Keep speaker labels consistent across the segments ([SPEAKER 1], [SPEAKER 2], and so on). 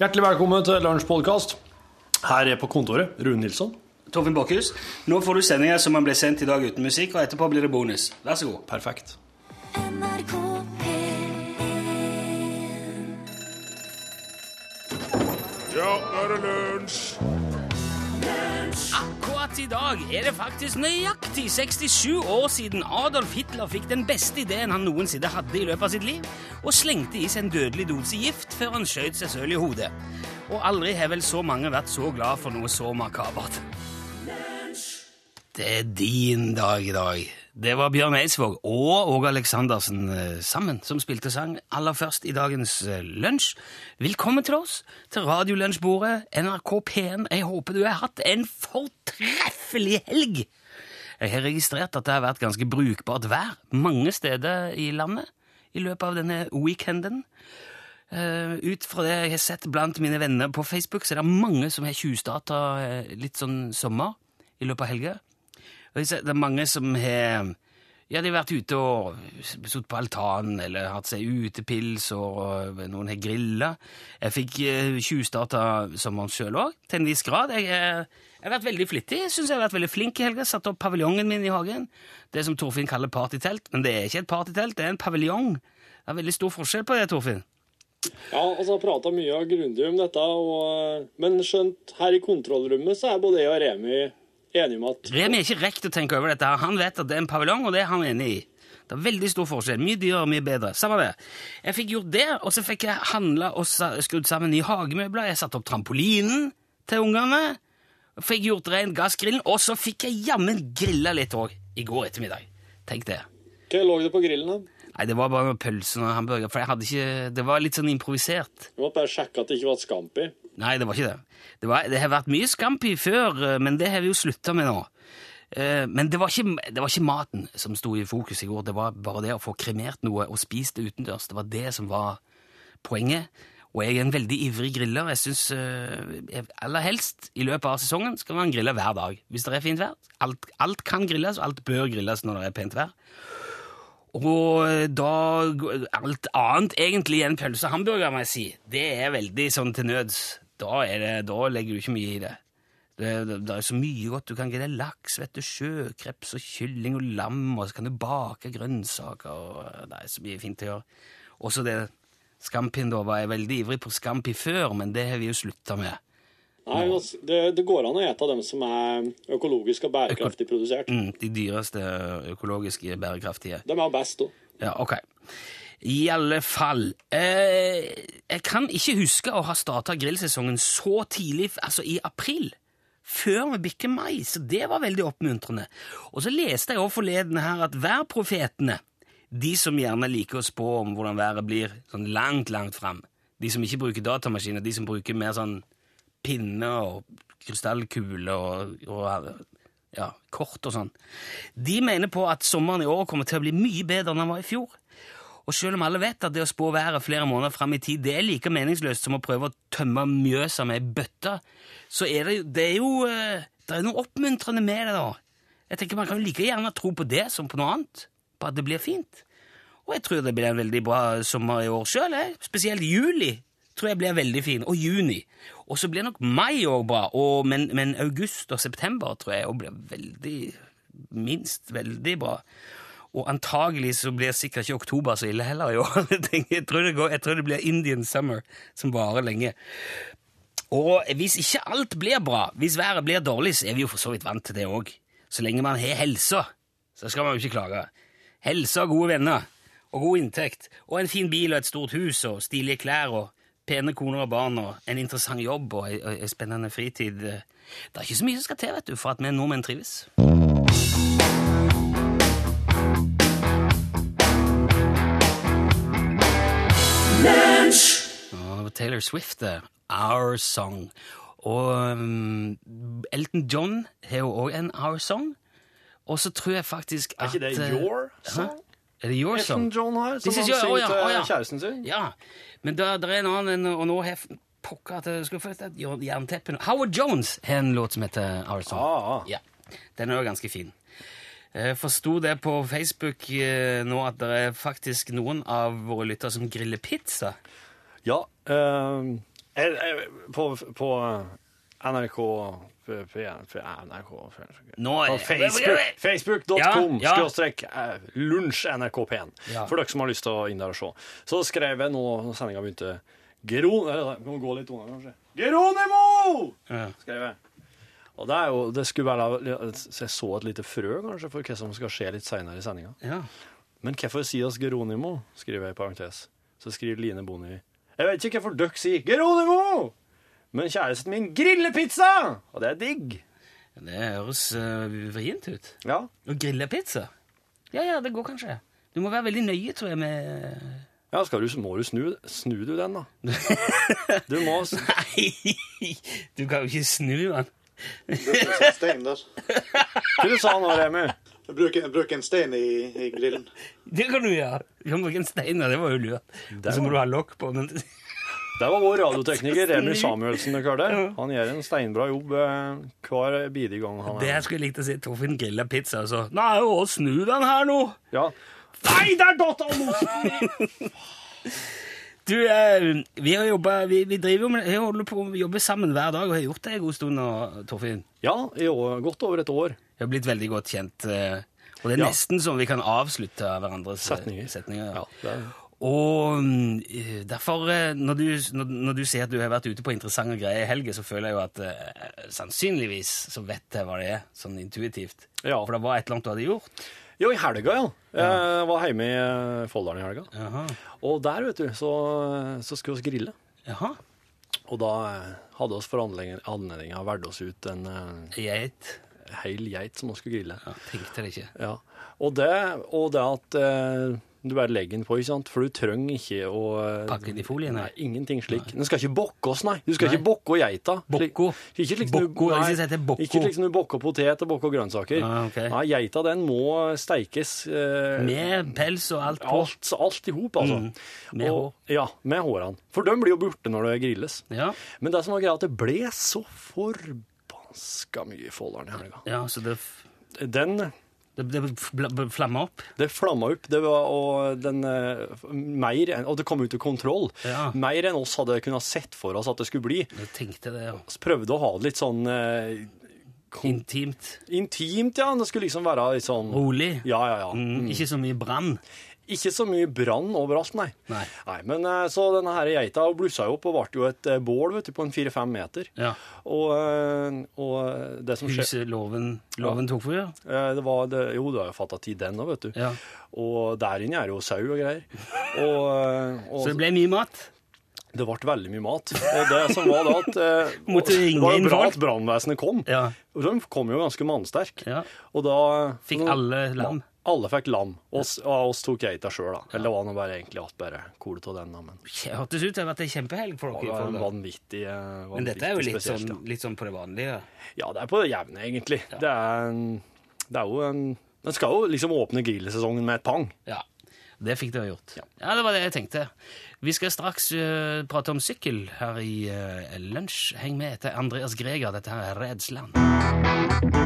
[SPEAKER 1] Hjertelig velkommen til Lunsjpodkast. Her er på kontoret Rune Nilsson.
[SPEAKER 2] Torfinn Bakkhus, nå får du sendinga som den ble sendt i dag uten musikk, og etterpå blir det bonus. Vær så god.
[SPEAKER 1] Perfekt.
[SPEAKER 3] NRK P1
[SPEAKER 4] Ja, nå er det lunsj!
[SPEAKER 2] Akkurat i dag er det faktisk nøyaktig 67 år siden Adolf Hitler fikk den beste ideen han noensinne hadde i løpet av sitt liv, og slengte i seg en dødelig dose gift før han skjøt seg selv i hodet. Og aldri har vel så mange vært så glad for noe så makabert. Det er din dag i dag. Det var Bjørn Eidsvåg og Åge Aleksandersen eh, sammen som spilte sang aller først i dagens eh, lunsj. Velkommen til oss, til Radiolunsjbordet, NRK P1. Jeg håper du har hatt en fortreffelig helg! Jeg har registrert at det har vært ganske brukbart vær mange steder i landet i løpet av denne weekenden. Eh, ut fra det jeg har sett blant mine venner på Facebook, så er det mange som har tjuvstarta eh, litt sånn sommer i løpet av helga. Og jeg ser- Det er mange som har ja, de har vært ute og sittet på altanen eller hatt seg utepils, og noen har grilla. Jeg fikk eh, tjuvstarta sommeren sjøl òg, til en viss grad. Jeg, eh, jeg har vært veldig flittig. Jeg syns jeg har vært veldig flink i helga. Satt opp paviljongen min i hagen. Det som Torfinn kaller partytelt, men det er ikke et partytelt, det er en paviljong. Det er veldig stor forskjell på det, Torfinn.
[SPEAKER 5] Ja, altså jeg prata mye og grundig om dette, og, men skjønt her i kontrollrommet så er både jeg og Remi enige om at
[SPEAKER 2] Remi er ikke rekt å tenke over dette. her. Han vet at det er en paviljong, og det er han enig i. Det er veldig stor forskjell. Mye dyrere, mye bedre. Samme det. Jeg fikk gjort det, og så fikk jeg handla og sa- skrudd sammen nye hagemøbler. Jeg satte opp trampolinen til ungene. Fikk gjort rent gassgrillen, og så fikk jeg jammen grilla litt òg i går ettermiddag. Tenk det.
[SPEAKER 5] Hva lå det på grillen? da?
[SPEAKER 2] Nei, det var bare noen pølser og hamburger, for jeg hadde ikke Det var litt sånn improvisert.
[SPEAKER 5] Vi måtte bare sjekke at det ikke var et Scampi.
[SPEAKER 2] Nei, det var ikke det. Det, var, det har vært mye Scampi før, eh, men det har vi jo slutta med nå. Eh, Men det var, ikke, det var ikke maten som sto i fokus i går, det var bare det å få kremert noe og spist det utendørs. Det var det som var poenget. Og jeg er en veldig ivrig griller. Jeg synes, eh, jeg- Aller helst i løpet av sesongen skal man grille hver dag. Hvis det er fint vær. Alt, alt kan grilles, og alt bør grilles når det er pent vær. Og eh, da Alt annet egentlig enn pølse og hamburger, må jeg si. Det er veldig sånn til nøds. Da, er det, da legger du ikke mye i det. Det, det, det er så mye godt. Du kan grille laks, vet du, sjøkreps og kylling og lam, og så kan du bake grønnsaker og eh, Det er så mye fint å gjøre. Også det Scampien, da, var jeg veldig ivrig på Scampi før, men det har vi jo slutta med.
[SPEAKER 5] Nei, altså, det, det går an å ete av dem som er økologisk og bærekraftig produsert.
[SPEAKER 2] Mm, De dyreste økologiske bærekraftige.
[SPEAKER 5] De er best òg.
[SPEAKER 2] Ja, ok. I alle fall eh, Jeg kan ikke huske å ha starta grillsesongen så tidlig, altså i april. Før vi bikker mai, så det var veldig oppmuntrende. Og så leste jeg også forleden her at værprofetene, de som gjerne liker å spå om hvordan været blir sånn langt, langt fram, de som ikke bruker datamaskiner, de som bruker mer sånn pinne og krystallkule og, og ja, kort og sånn. De mener på at sommeren i år kommer til å bli mye bedre enn den var i fjor. Og selv om alle vet at det å spå været flere måneder fram i tid, det er like meningsløst som å prøve å tømme Mjøsa med ei bøtte, så er det, jo- det er jo eh, det er noe oppmuntrende med det, da. Jeg tenker Man kan jo like gjerne tro på det som på noe annet, på at det blir fint. Og jeg tror det blir en veldig bra sommer i år sjøl. Spesielt juli tror jeg blir veldig fin. Og juni. Og så blir nok mai òg bra. Og, men, men august og september tror jeg òg blir veldig Minst veldig bra. Og antagelig så blir sikkert ikke oktober så ille heller i år. Jeg tenker- Jeg tror det, går, jeg tror det blir Indian summer som varer lenge. Og hvis ikke alt blir bra, hvis været blir dårlig, så er vi jo for så vidt vant til det òg. Så lenge man har helsa, så skal man jo ikke klage. Helse og gode venner, og god inntekt, og en fin bil og et stort hus, og stilige klær, og pene koner og barn, og en interessant jobb og ei- og ei spennende fritid Det er ikke så mye som skal til vet du, for at vi nordmenn trives. Og Taylor Swift det. Our Song. Og um, Elton John har jo òg en Our Song. Og så tror jeg faktisk at
[SPEAKER 1] Er ikke det
[SPEAKER 2] eh,
[SPEAKER 1] Your
[SPEAKER 2] hæ?
[SPEAKER 1] Song?
[SPEAKER 2] Er det Your Song?
[SPEAKER 1] Elton John her, som
[SPEAKER 2] This
[SPEAKER 1] han
[SPEAKER 2] is your-
[SPEAKER 1] synger
[SPEAKER 2] å ja, å
[SPEAKER 1] til
[SPEAKER 2] ja.
[SPEAKER 1] kjæresten sin.
[SPEAKER 2] Ja, men der, der er en annen, og nå har jeg pokka at jeg skulle få dette jern- jernteppet. Howard Jones har en låt som heter Our Song.
[SPEAKER 1] Ah.
[SPEAKER 2] Ja, den er jo ganske fin. Jeg forsto det på Facebook eh, nå at det er faktisk noen av våre lyttere som griller pizza.
[SPEAKER 1] Ja, eh, Jeg- jeg- På, på NRK P- P1 P- NRK
[SPEAKER 2] Nå er
[SPEAKER 1] På
[SPEAKER 2] det-
[SPEAKER 1] Facebook- Facebook.com
[SPEAKER 2] Ja, ja.
[SPEAKER 1] skråstrek eh, lunsj NRK P1.
[SPEAKER 2] Ja.
[SPEAKER 1] For dere som har lyst til å inn der og se. Så skrev jeg nå når sendinga begynte Gron... eller, Må gå litt unna, kanskje. Geronimo!
[SPEAKER 2] Ja.
[SPEAKER 1] Skrev jeg. Og det, er jo, det skulle være Jeg så et lite frø, kanskje, for hva som skal skje litt seinere i sendinga.
[SPEAKER 2] Ja.
[SPEAKER 1] Men hvorfor sier oss Geronimo? skriver jeg i parentes. Så skriver Line Bonnevie. Jeg vet ikke hvorfor dere sier Geronimo! Men kjæresten min griller pizza! Og det er digg.
[SPEAKER 2] Det høres eh, vrient ut.
[SPEAKER 1] Ja.
[SPEAKER 2] Å grille pizza? Ja, ja, det går kanskje. Du må være veldig nøye, tror jeg, med
[SPEAKER 1] Ja, skal du, må du snu, snu du den, da? Du må s-
[SPEAKER 2] Nei, du kan jo ikke snu den.
[SPEAKER 3] bruker en sånn stein der.
[SPEAKER 1] Hva du sa nå, Remi?
[SPEAKER 3] Jeg bruker, jeg bruker en stein i, i grillen.
[SPEAKER 2] Det kan du gjøre. Du kan bruke en stein, da. Det var jo lurt. Og så må du ha lokk på. Men
[SPEAKER 1] Det var vår radiotekniker Remi Samuelsen. dere hørte. Han gjør en steinbra jobb eh, hver bidige gang han
[SPEAKER 2] det
[SPEAKER 1] er
[SPEAKER 2] jeg skulle jeg likt å si. Torfinn griller pizza, altså. og så Nei, å, snu den her nå!
[SPEAKER 1] Ja. Nei, der datt han osten!
[SPEAKER 2] Du, eh, vi har jobba Vi, vi driver jo med Vi holder på å jobbe sammen hver dag, og har gjort det en god stund nå, Torfinn.
[SPEAKER 1] Ja, i år, godt over et år.
[SPEAKER 2] Vi har blitt veldig godt kjent. eh, Og det er
[SPEAKER 1] Ja.
[SPEAKER 2] nesten sånn vi kan avslutte hverandres eh,
[SPEAKER 1] Setninger.
[SPEAKER 2] setninger ja.
[SPEAKER 1] Ja, det er-
[SPEAKER 2] Og mm, eh, derfor, eh, når du, når, når du sier at du har vært ute på interessante greier i helga, så føler jeg jo at eh, sannsynligvis så vet jeg hva det er, sånn intuitivt.
[SPEAKER 1] Ja.
[SPEAKER 2] For det var et eller annet du hadde gjort.
[SPEAKER 1] Jo, i helga, ja. Jeg var hjemme i eh, Folldalen i helga.
[SPEAKER 2] Jaha.
[SPEAKER 1] Og der, vet du, så, så skulle vi grille.
[SPEAKER 2] Jaha.
[SPEAKER 1] Og da eh, hadde oss for anledning- anledninga valgt oss ut en eh,
[SPEAKER 2] Geit.
[SPEAKER 1] hel geit som vi skulle grille.
[SPEAKER 2] Ja, tenkte det ikke.
[SPEAKER 1] Ja. Og, det, og det at eh, du bare legger den på, ikke sant? for du trenger ikke å eh,
[SPEAKER 2] Pakke den i folie, nei.
[SPEAKER 1] Nei, ingenting slik. Den skal ikke bokkes, nei. Du skal
[SPEAKER 2] Nei.
[SPEAKER 1] ikke bokke geita. Slik-
[SPEAKER 2] Bokko.
[SPEAKER 1] Ikke liksom du-
[SPEAKER 2] Bokko, jeg
[SPEAKER 1] nei,
[SPEAKER 2] synes det heter bokko.
[SPEAKER 1] Ikke liksom du bokker potet og bokker grønnsaker.
[SPEAKER 2] Ah, ok.
[SPEAKER 1] Nei, geita den må steikes. eh,
[SPEAKER 2] Med pels og alt på. Mm.
[SPEAKER 1] Alt, alt i hop, altså.
[SPEAKER 2] Med
[SPEAKER 1] Og-
[SPEAKER 2] hår.
[SPEAKER 1] Ja, med hårene. For de blir jo borte når det grilles.
[SPEAKER 2] Ja.
[SPEAKER 1] Men det som var greia, at det ble så forbanska mye i Folldalen i helga.
[SPEAKER 2] ja, så det, f-
[SPEAKER 1] Den
[SPEAKER 2] det, det fl- fl- flammer opp.
[SPEAKER 1] det flamma opp. Det var, og, den, eh, mer enn, og det kom ut av kontroll.
[SPEAKER 2] Ja.
[SPEAKER 1] Mer enn oss hadde kunnet sett for oss at det skulle bli.
[SPEAKER 2] Jeg tenkte det, ja.
[SPEAKER 1] Vi prøvde å ha det litt sånn eh, kon-
[SPEAKER 2] Intimt.
[SPEAKER 1] intimt, ja. Det skulle liksom være litt sånn
[SPEAKER 2] Rolig.
[SPEAKER 1] Ja, ja, ja.
[SPEAKER 2] Mm, ikke så mye brann.
[SPEAKER 1] Ikke så mye brann overalt, nei.
[SPEAKER 2] Nei.
[SPEAKER 1] men eh, Så denne her geita hun blussa jo opp og ble jo et eh, bål vet du, på en fire-fem meter.
[SPEAKER 2] Ja.
[SPEAKER 1] Og, eh, og det som skjedde
[SPEAKER 2] Huset, låven, låven tok for, ja.
[SPEAKER 1] det var, det, Jo, du har jo fatta tid, den òg, vet du.
[SPEAKER 2] Ja.
[SPEAKER 1] Og der inne er det jo sau og greier. Og, eh, og
[SPEAKER 2] Så det ble mye mat.
[SPEAKER 1] det ble veldig mye mat. Og det som var da at eh,
[SPEAKER 2] Måtte ringe
[SPEAKER 1] Det var
[SPEAKER 2] inn
[SPEAKER 1] jo bra
[SPEAKER 2] folk.
[SPEAKER 1] at brannvesenet kom.
[SPEAKER 2] Ja.
[SPEAKER 1] Og de kom jo ganske mannsterk.
[SPEAKER 2] Ja.
[SPEAKER 1] Og da
[SPEAKER 2] Fikk alle lam.
[SPEAKER 1] Alle fikk lam. Oss, og oss tok geita sjøl, da. Eller det var nå bare egentlig alt bare kolet av den, da. Men
[SPEAKER 2] Kje- Hørtes ut som at det er kjempehelg for
[SPEAKER 1] det
[SPEAKER 2] dere.
[SPEAKER 1] var en
[SPEAKER 2] For
[SPEAKER 1] vanvittig, eh, vanvittig
[SPEAKER 2] Men dette er jo litt
[SPEAKER 1] spesielt,
[SPEAKER 2] sånn,
[SPEAKER 1] da.
[SPEAKER 2] litt sånn på det vanlige.
[SPEAKER 1] Ja, det er på det jevne, egentlig. Det, er en, det er jo en Den skal jo liksom åpne grillsesongen med et pang.
[SPEAKER 2] Ja. Det fikk dere gjort. Ja. det var det jeg tenkte. Vi skal straks øh, prate om sykkel her i øh, Lunsj. Heng med etter Andreas Greger. Dette her er Redsland.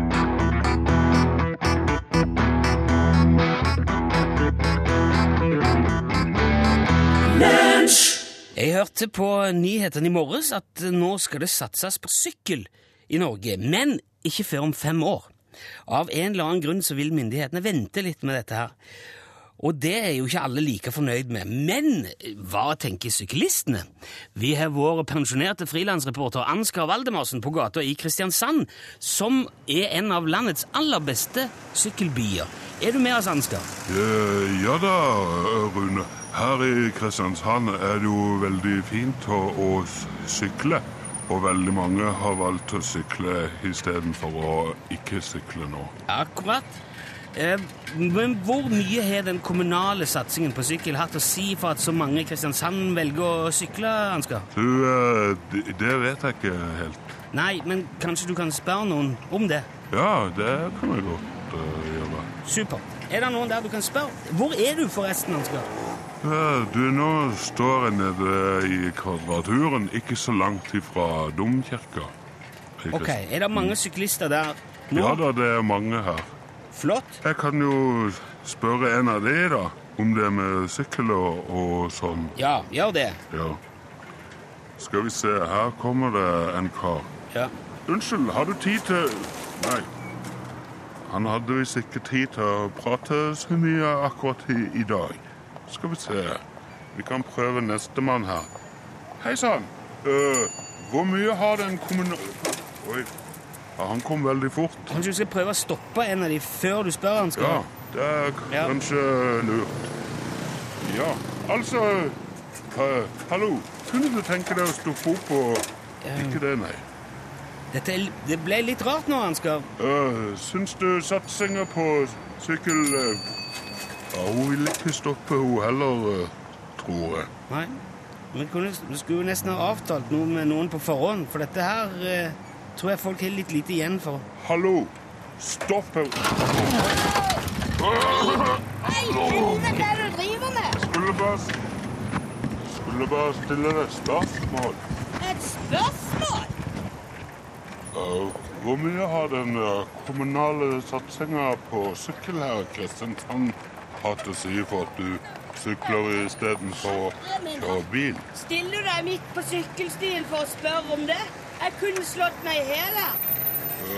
[SPEAKER 2] Jeg hørte på nyheten i morges at nå skal det satses på sykkel i Norge, men ikke før om fem år. Av en eller annen grunn så vil myndighetene vente litt med dette her. Og det er jo ikke alle like fornøyd med. Men hva tenker syklistene? Vi har vår pensjonerte frilansreporter Ansgar Valdemarsen på gata i Kristiansand, som er en av landets aller beste sykkelbyer. Er du med oss, Ansgar?
[SPEAKER 4] Eh, ja da, Rune. Her i Kristiansand er det jo veldig fint å, å s- sykle. Og veldig mange har valgt å sykle istedenfor å ikke sykle nå.
[SPEAKER 2] Akkurat. Eh, Men hvor mye har den kommunale satsingen på sykkel hatt å si for at så mange i Kristiansand velger å sykle, Ansgar?
[SPEAKER 4] Du, eh, d- det vet jeg ikke helt.
[SPEAKER 2] Nei, men kanskje du kan spørre noen om det?
[SPEAKER 4] Ja, det kan jeg godt eh, gjøre.
[SPEAKER 2] Supert. Er det noen der du kan spørre? Hvor er du forresten, Ansgar?
[SPEAKER 4] Ja, Eh, Du, nå står jeg nede i Kvadraturen, ikke så langt ifra Domkirka. i
[SPEAKER 2] Ok,
[SPEAKER 4] Kristiansand.
[SPEAKER 2] Er det mange syklister der
[SPEAKER 4] Mm.
[SPEAKER 2] nå?
[SPEAKER 4] Ja da, det er mange her.
[SPEAKER 2] Flott.
[SPEAKER 4] Jeg kan jo spørre en av de, da, om det med sykkel og, og sånn.
[SPEAKER 2] Ja, gjør det.
[SPEAKER 4] Ja. Skal vi se, her kommer det en kar.
[SPEAKER 2] Ja.
[SPEAKER 4] Unnskyld, har du tid til Nei. Han hadde visst ikke tid til å prate så mye akkurat i, i dag. Skal vi se Vi kan prøve nestemann her. Hei sann. Øh, hvor mye har den kommunal... Oi. Ja, han kom veldig fort.
[SPEAKER 2] Kanskje du skal prøve å stoppe en av de før du spør han
[SPEAKER 4] Ja,
[SPEAKER 2] skal?
[SPEAKER 4] det er
[SPEAKER 2] Ja.
[SPEAKER 4] kanskje lurt. Ja, altså øh, Hallo. Kunne du tenke deg å stoppe opp og Ikke det, nei.
[SPEAKER 2] Dette, er- det ble litt rart nå, Ansgar.
[SPEAKER 4] Øh, syns du satsinga på sykkel øh, Ja, hun vil ikke stoppe, hun heller, øh, tror jeg.
[SPEAKER 2] Nei. Vi, kunne, vi skulle jo nesten ha avtalt noe med noen på forhånd, for dette her eh, tror jeg folk har litt lite igjen for.
[SPEAKER 4] Hallo! Stopp! Jeg
[SPEAKER 6] Hei, helvete, hva er det du driver med?
[SPEAKER 4] skulle bare Skulle bare stille deg et spørsmål.
[SPEAKER 6] Et spørsmål?
[SPEAKER 4] Øh, hvor mye har den øh, kommunale satsinga på sykkel her i Kristiansand hatt å si for at du sykler istedenfor å kjøre bil?
[SPEAKER 6] Stiller du deg midt på sykkelstien for å spørre om det? Jeg kunne slått meg i hjel her.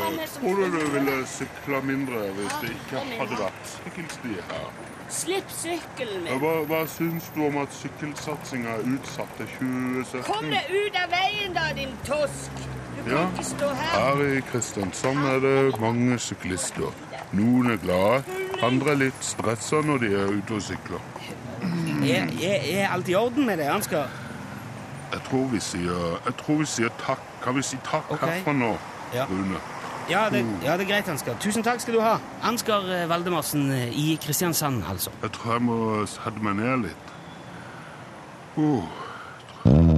[SPEAKER 6] Han er som-
[SPEAKER 4] Tror du du ville sykla mindre hvis det ikke hadde vært sykkelsti her?
[SPEAKER 6] Slipp sykkelen
[SPEAKER 4] Ja,
[SPEAKER 6] min.
[SPEAKER 4] Hva, hva syns du om at sykkelsatsinga er utsatt til
[SPEAKER 6] Kom
[SPEAKER 4] 2017?
[SPEAKER 6] deg ut av veien da, din tosk. Du kan
[SPEAKER 4] Ja.
[SPEAKER 6] ikke stå her.
[SPEAKER 4] Her i Kristiansand er det mange syklister. Noen er glade, andre er litt stressa når de er ute og sykler.
[SPEAKER 2] Er, er, er alt i orden med det, Ansgar?
[SPEAKER 4] Jeg tror vi sier, jeg tror vi sier takk. Kan vi si takk
[SPEAKER 2] Ok.
[SPEAKER 4] herfra nå,
[SPEAKER 2] Ja.
[SPEAKER 4] Rune?
[SPEAKER 2] Ja, det,
[SPEAKER 4] Mm.
[SPEAKER 2] ja, det er greit, Ansgar. Tusen takk skal du ha. Ansgar eh, Valdemarsen eh, i Kristiansand, altså.
[SPEAKER 4] Jeg tror jeg må sette meg ned litt. Uh.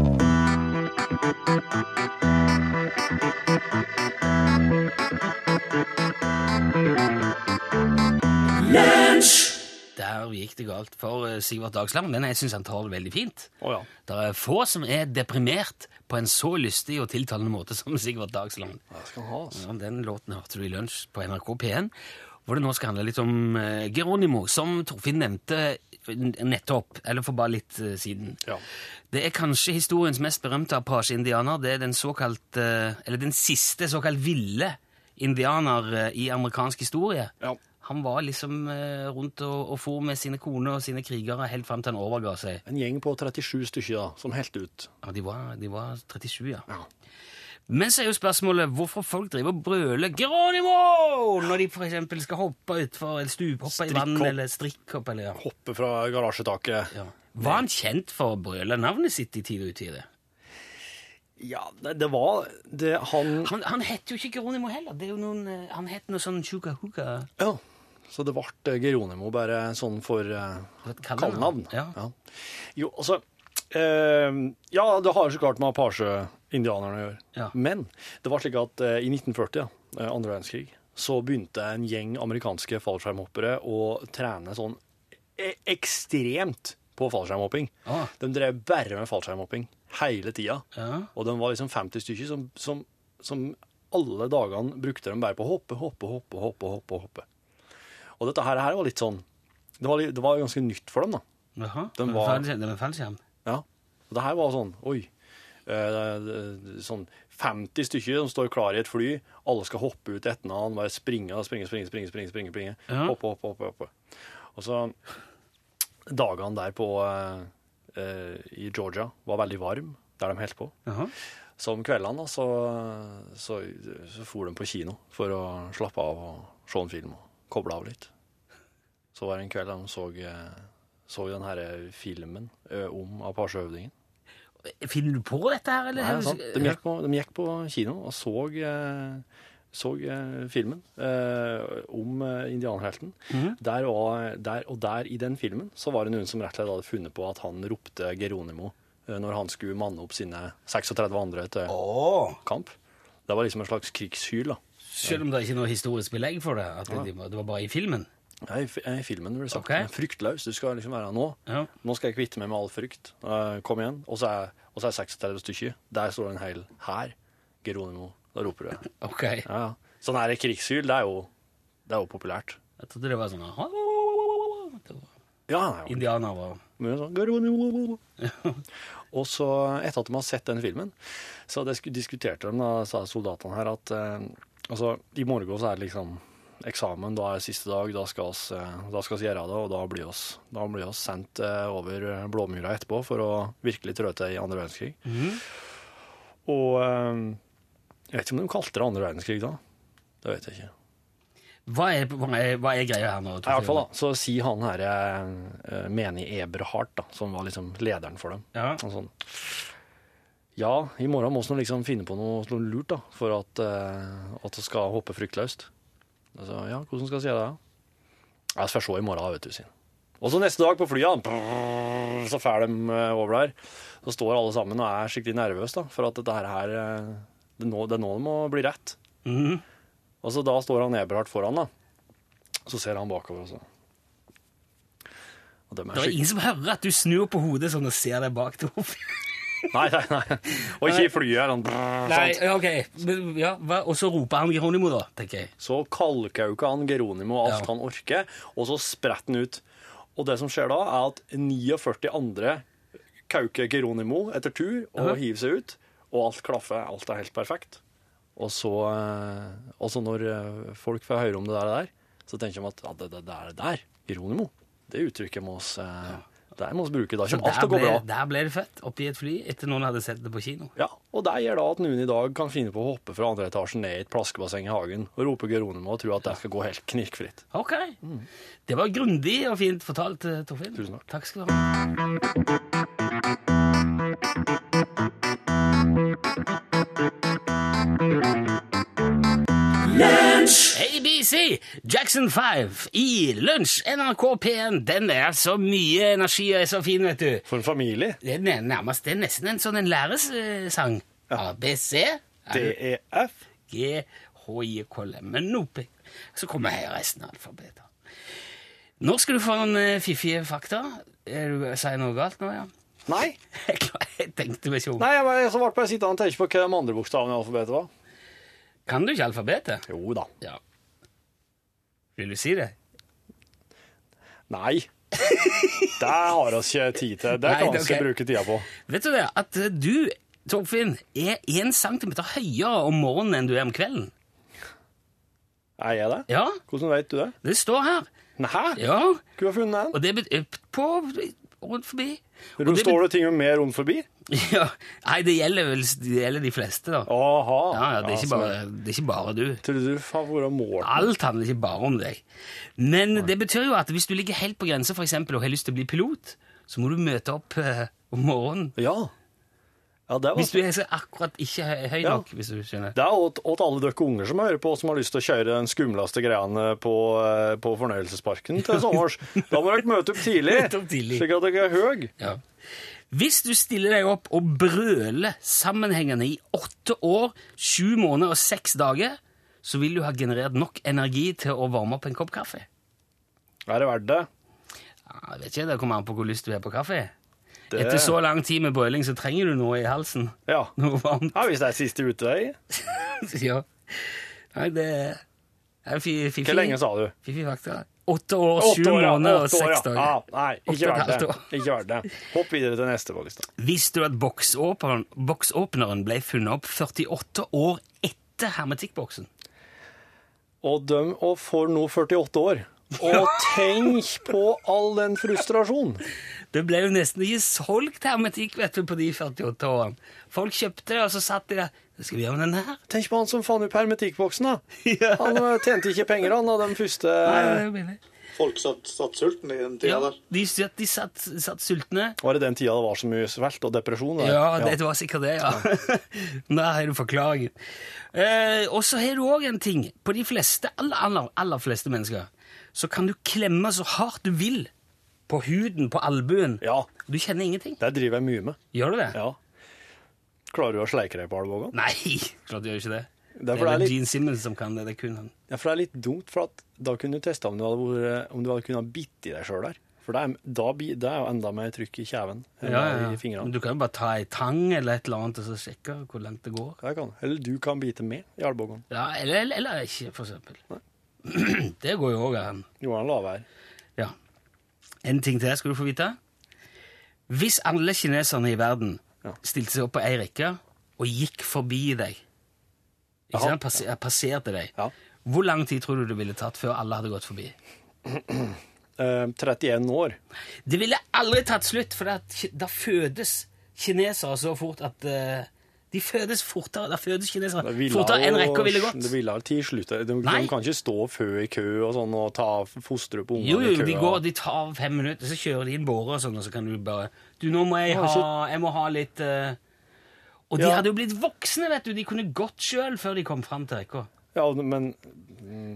[SPEAKER 2] Der gikk det galt for eh, Sivert Dagsland, men jeg syns han tar det veldig fint.
[SPEAKER 1] Å ja.
[SPEAKER 2] Det er få som er deprimert på en så lystig og tiltalende måte som Sigvart Dagsland.
[SPEAKER 1] Det skal han ha, altså.
[SPEAKER 2] Ja, den låten hørte du i lunsj på NRK P1, hvor det nå skal handle litt om eh, Geronimo, som Torfinn nevnte n- nettopp, eller for bare litt eh, siden.
[SPEAKER 1] Ja.
[SPEAKER 2] Det er kanskje historiens mest berømte Apache-indianer. Det er den såkalte, eller den siste såkalt ville indianer eh, i amerikansk historie.
[SPEAKER 1] Ja.
[SPEAKER 2] Han var liksom eh, rundt og, og for med sine koner og sine krigere helt fram til han overga seg.
[SPEAKER 1] En gjeng på 37 stykker da, som helt ut.
[SPEAKER 2] Ja, de var, de var 37, ja.
[SPEAKER 1] Ja.
[SPEAKER 2] Men så er jo spørsmålet hvorfor folk driver og brøler 'Geronimo!' når de for eksempel skal hoppe utfor eller stuphoppe i vann
[SPEAKER 1] Strikkhopp.
[SPEAKER 2] eller strikkhopp eller ja.
[SPEAKER 1] Hoppe fra garasjetaket.
[SPEAKER 2] ja. Var han kjent for å brøle navnet sitt i tid og utide?
[SPEAKER 1] Ja, det, det var det han
[SPEAKER 2] Han, han het jo ikke Geronimo heller. Det er jo noen, eh, han het noe sånn Chugahuga.
[SPEAKER 1] Ja. Så det ble Geronimo, bare sånn for eh, kallenavn.
[SPEAKER 2] Ja.
[SPEAKER 1] Ja. Jo, altså eh, Ja, det har jo så klart med Apache-indianerne å gjøre.
[SPEAKER 2] Ja.
[SPEAKER 1] Men det var slik at eh, i 1940, ja, eh, andre verdenskrig, så begynte en gjeng amerikanske fallskjermhoppere å trene sånn e ekstremt på fallskjermhopping.
[SPEAKER 2] Ah.
[SPEAKER 1] De drev bare med fallskjermhopping hele tida.
[SPEAKER 2] Ja.
[SPEAKER 1] Og de var liksom 50 stykker som, som, som alle dagene brukte dem bare på å hoppe, hoppe, hoppe, hoppe, hoppe. hoppe. Og dette her, her var litt sånn det var, litt- det var ganske nytt for dem, da.
[SPEAKER 2] Jaha. Den
[SPEAKER 1] Den var-
[SPEAKER 2] var fallskjerm?
[SPEAKER 1] Ja. Og det her var sånn Oi. eh, det- det- sånn 50 stykker som står klar i et fly. Alle skal hoppe ut etter hverandre. Bare springe, springe, springe. springe, springe, springe, springe.
[SPEAKER 2] Ja.
[SPEAKER 1] Hoppe, hoppe, hoppe. hoppe. Og så Dagene der på, eh, eh, i Georgia var veldig varm, der de holdt på.
[SPEAKER 2] Jaha.
[SPEAKER 1] Så om kveldene da, så, så, så for de på kino for å slappe av og se en film og koble av litt. Så var det en kveld da de så, eh, så den her filmen eh, om Apache-høvdingen.
[SPEAKER 2] Finner du på dette her, eller?
[SPEAKER 1] Nei, sant. De, gikk på, de gikk på kino og så, eh, så eh, filmen eh, om eh, indianerhelten. Der var- der, og der i den filmen så var det noen som rett og slett hadde funnet på at han ropte Geronimo eh, når han skulle manne opp sine 36 andre til
[SPEAKER 2] Åh.
[SPEAKER 1] kamp. Det var liksom en slags krigshyl. da.
[SPEAKER 2] Selv om det er ikke noe historisk belegg for det? At det, det var bare i filmen?
[SPEAKER 1] Ja, i, fi- I filmen ble det sagt.
[SPEAKER 2] Ok.
[SPEAKER 1] Fryktløs. Du skal liksom være nå.
[SPEAKER 2] Ja.
[SPEAKER 1] Nå skal jeg kvitte meg med all frykt. Eh, kom igjen. Og så er, og så er 36 stykker. Der står det en hel hær. Geronimo. Da roper du.
[SPEAKER 2] Ok.
[SPEAKER 1] Ja, ja. Sånn her krigshyl, det er jo, det er jo populært.
[SPEAKER 2] Jeg trodde det var sånn «Hallo!» Det var-
[SPEAKER 1] Ja, han er jo
[SPEAKER 2] Indianer var
[SPEAKER 1] Men sånn, «Garoni-wo-wo-wo». Og så, etter at de har sett denne filmen, så hadde jeg sku- diskuterte de, da, sa soldatene her, at eh, altså, i morgen så er det liksom eksamen, da er det siste dag, da skal oss, eh, da skal oss gjøre det, og da blir oss, da blir oss sendt eh, over Blåmyra etterpå for å virkelig trå til i andre verdenskrig. Og eh, jeg vet ikke om de kalte det andre verdenskrig da. Det vet jeg ikke.
[SPEAKER 2] Hva er, hva er, hva er greia her nå?
[SPEAKER 1] I hvert fall da, så sier han her eh, menig Eberhardt, da, som var liksom lederen for dem.
[SPEAKER 2] Ja.
[SPEAKER 1] Og sånn. Ja, i morgen må vi liksom finne på noe, noe lurt da, for at, eh, at det skal hoppe fryktløst. Altså, ja, hvordan skal jeg si det? da? Ja, så får jeg se i morgen, da, vet du, sin. Og så neste dag på flyet, brrr, så fær de eh, over der. Så står alle sammen og er skikkelig nervøse da, for at dette her, eh, det er nå det er nå det må bli rett.
[SPEAKER 2] Mhm.
[SPEAKER 1] Og så da står han Eberhardt foran da, så ser han bakover også. Og dem er
[SPEAKER 2] Det er
[SPEAKER 1] skikkelig...
[SPEAKER 2] ingen som hører at du snur på hodet sånn og ser deg bak til hodet.
[SPEAKER 1] Nei, nei, nei. Og ikke i flyet her, sånn... brrr,
[SPEAKER 2] Nei,
[SPEAKER 1] sant?
[SPEAKER 2] ok. Men, Ja, hva- og så roper han Geronimo, da, tenker jeg.
[SPEAKER 1] Så kalkauka han Geronimo alt
[SPEAKER 2] Ja.
[SPEAKER 1] han orker, og så spretter han ut. Og det som skjer da, er at 49 andre kauker Geronimo etter tur og hiver seg ut, og alt klaffer, alt er helt perfekt. Og så, eh, og så når eh, folk får høre om det der, der så tenker de at ja, det, det, det er det der, Geronimo. Det uttrykket må oss, eh, der må oss bruke. Da kommer alt
[SPEAKER 2] Der
[SPEAKER 1] til å gå
[SPEAKER 2] ble,
[SPEAKER 1] bra.
[SPEAKER 2] der ble det fett, oppi et fly, etter noen hadde sett det på kino.
[SPEAKER 1] Ja, og det gjør da at noen i dag kan finne på å hoppe fra andre etasjen ned i et plaskebasseng i hagen og rope Geronimo og tro at det skal gå helt knirkfritt.
[SPEAKER 2] Ok. Det var grundig og fint fortalt, eh, Torfinn.
[SPEAKER 1] Mm. Tusen takk.
[SPEAKER 2] Takk skal du ha. ABC, Jackson 5 i Lunsj, NRK P1. Den er så mye energi og er så fin, vet du.
[SPEAKER 1] For en familie.
[SPEAKER 2] Det er nær- nærmest det er nesten en sånn en læresang. ABC, E
[SPEAKER 1] DEF.
[SPEAKER 2] G, H, I, K, L, M, N, O, P. Så kommer her resten av alfabetet. Nå skal du få en eh, fiffige fakta. Er du, sier jeg noe galt nå, ja?
[SPEAKER 1] Nei,
[SPEAKER 2] Jeg klar- Jeg tenkte meg ikke om.
[SPEAKER 1] nei jeg, jeg så ble bare sittende og tenke på hva de andre bokstavene i alfabetet var.
[SPEAKER 2] Kan du ikke alfabetet?
[SPEAKER 1] Jo da.
[SPEAKER 2] Ja. Vil du si det?
[SPEAKER 1] Nei. Det har vi ikke tid til. Det
[SPEAKER 2] Nei,
[SPEAKER 1] kan
[SPEAKER 2] det
[SPEAKER 1] vi
[SPEAKER 2] er
[SPEAKER 1] ikke
[SPEAKER 2] ok.
[SPEAKER 1] bruke tida på.
[SPEAKER 2] Vet du det, at eh, du, Torfinn, er én centimeter høyere om morgenen enn du er om kvelden?
[SPEAKER 1] Er jeg det?
[SPEAKER 2] Ja,
[SPEAKER 1] Hvordan vet du det?
[SPEAKER 2] det står her.
[SPEAKER 1] Nei,
[SPEAKER 2] Ja,
[SPEAKER 1] skulle ha funnet den.
[SPEAKER 2] og det betyr På rundt forbi. Og
[SPEAKER 1] Rundt
[SPEAKER 2] det
[SPEAKER 1] står det ting om mer rundt forbi?
[SPEAKER 2] bet- Ja, nei, det gjelder vel det gjelder de fleste, da.
[SPEAKER 1] Aha.
[SPEAKER 2] Ja, ja, det er, ikke
[SPEAKER 1] så-
[SPEAKER 2] bare, det er ikke bare du.
[SPEAKER 1] Trodde du faen hvor det målt?
[SPEAKER 2] Alt handler ikke bare om deg. Men det betyr jo at hvis du ligger helt på grensa for eksempel, og har lyst til å bli pilot, så må du møte opp eh, om morgenen.
[SPEAKER 1] Ja. Ja, det var
[SPEAKER 2] Hvis du er så akkurat ikke høy, høy
[SPEAKER 1] Ja.
[SPEAKER 2] nok, hvis du skjønner.
[SPEAKER 1] det er åt, åt alle dere unger som hører på, som har lyst til å kjøre den skumleste greiene på, eh, på fornøyelsesparken til sommers. Da må dere møte opp tidlig,
[SPEAKER 2] Møte opp tidlig.
[SPEAKER 1] slik at dere er høy.
[SPEAKER 2] Ja. Hvis du stiller deg opp og brøler sammenhengende i åtte år, sju måneder og seks dager, så vil du ha generert nok energi til å varme opp en kopp kaffe.
[SPEAKER 1] Er det verdt det?
[SPEAKER 2] Ja, jeg vet ikke, Det kommer an på hvor lyst du har på kaffe.
[SPEAKER 1] Det-
[SPEAKER 2] Etter så lang tid med brøling så trenger du noe i halsen.
[SPEAKER 1] Ja.
[SPEAKER 2] Noe varmt.
[SPEAKER 1] Ja, hvis det er siste utvei.
[SPEAKER 2] ja. Nei, det er fi- fiffig.
[SPEAKER 1] Hvor lenge sa du?
[SPEAKER 2] Fiffig fakta. Åtte år, sju måneder og seks dager.
[SPEAKER 1] Ja, Ah, nei,
[SPEAKER 2] Åtte og
[SPEAKER 1] ikke
[SPEAKER 2] et
[SPEAKER 1] verdt
[SPEAKER 2] halvt
[SPEAKER 1] det.
[SPEAKER 2] år.
[SPEAKER 1] Ikke verdt det. Hopp videre til neste på lista.
[SPEAKER 2] Visste du at boksåpneren, boksåpneren ble funnet opp 48 år etter hermetikkboksen?
[SPEAKER 1] Og de og får nå 48 år. Og tenk på all den frustrasjonen.
[SPEAKER 2] Det ble jo nesten ikke solgt hermetikk vet du, på de 48 årene. Folk kjøpte det, og så satt de der. Hva skal vi gjøre med den her?
[SPEAKER 1] Tenk på han som fant opp hermetikkboksen, da.
[SPEAKER 2] Ja.
[SPEAKER 1] Han eh, tjente ikke penger, han, av de første
[SPEAKER 2] Nei, det er jo billig.
[SPEAKER 3] Folk satt, satt sulten i den tida
[SPEAKER 2] Ja,
[SPEAKER 3] der.
[SPEAKER 2] de satt, de satt, satt sultne.
[SPEAKER 1] Var det den tida det var så mye svelt og depresjon? der?
[SPEAKER 2] Ja, det var sikkert det, ja. Da har du forklaringen. Eh, og så har du òg en ting. På de fleste, aller, aller, aller fleste mennesker så kan du klemme så hardt du vil på huden, på albuen.
[SPEAKER 1] ja.
[SPEAKER 2] Du kjenner ingenting.
[SPEAKER 1] Der driver jeg mye med.
[SPEAKER 2] Gjør du det?
[SPEAKER 1] Ja. Klarer du å sleike deg på albuene?
[SPEAKER 2] Nei, klart du gjør ikke det. Det
[SPEAKER 1] er
[SPEAKER 2] er
[SPEAKER 1] for det er
[SPEAKER 2] vel
[SPEAKER 1] litt-
[SPEAKER 2] Gene Simmons som kan det. det er kun han.
[SPEAKER 1] Ja, for det er litt dumt, for at da kunne du teste om du hadde, vært, om du hadde kunnet bitt i deg sjøl der. For det er, da, bi- det er jo enda mer trykk i kjeven enn
[SPEAKER 2] Ja,
[SPEAKER 1] det er
[SPEAKER 2] ja.
[SPEAKER 1] i fingrene.
[SPEAKER 2] Men du kan jo bare ta ei tang eller et eller annet og så sjekke hvor langt det går.
[SPEAKER 1] Jeg kan. Eller du kan bite med i albuen.
[SPEAKER 2] Ja, Eller, eller, eller ikke, for eksempel. Det går jo òg an.
[SPEAKER 1] Johan Lave her.
[SPEAKER 2] Ja. En ting til skal du få vite. Hvis alle kineserne i verden
[SPEAKER 1] Ja.
[SPEAKER 2] stilte seg opp på ei rekke og gikk forbi deg ikke
[SPEAKER 1] Jaha.
[SPEAKER 2] sant? Passer, Passerte deg.
[SPEAKER 1] Ja.
[SPEAKER 2] Hvor lang tid tror du det ville tatt før alle hadde gått forbi?
[SPEAKER 1] Eh, 31 år.
[SPEAKER 2] Det ville aldri tatt slutt, for da fødes kinesere så fort at eh, De fødes fortere da fødes kinesere
[SPEAKER 1] Det ville
[SPEAKER 2] fortere enn
[SPEAKER 1] jo-
[SPEAKER 2] rekka ville gått.
[SPEAKER 1] Det ville ha tid slutte. De,
[SPEAKER 2] Nei.
[SPEAKER 1] de kan ikke stå fø i kø og sånn og ta fostre på
[SPEAKER 2] Jo,
[SPEAKER 1] ungene i
[SPEAKER 2] jo,
[SPEAKER 1] kø.
[SPEAKER 2] de går, de tar fem minutter, så kjører de inn båre og sånn, og så kan du bare Du, nå må jeg
[SPEAKER 1] Å,
[SPEAKER 2] ha,
[SPEAKER 1] shit.
[SPEAKER 2] jeg må ha litt eh, Og de
[SPEAKER 1] Ja.
[SPEAKER 2] hadde jo blitt voksne, vet du. De kunne gått sjøl før de kom fram til rekka.
[SPEAKER 1] Ja, men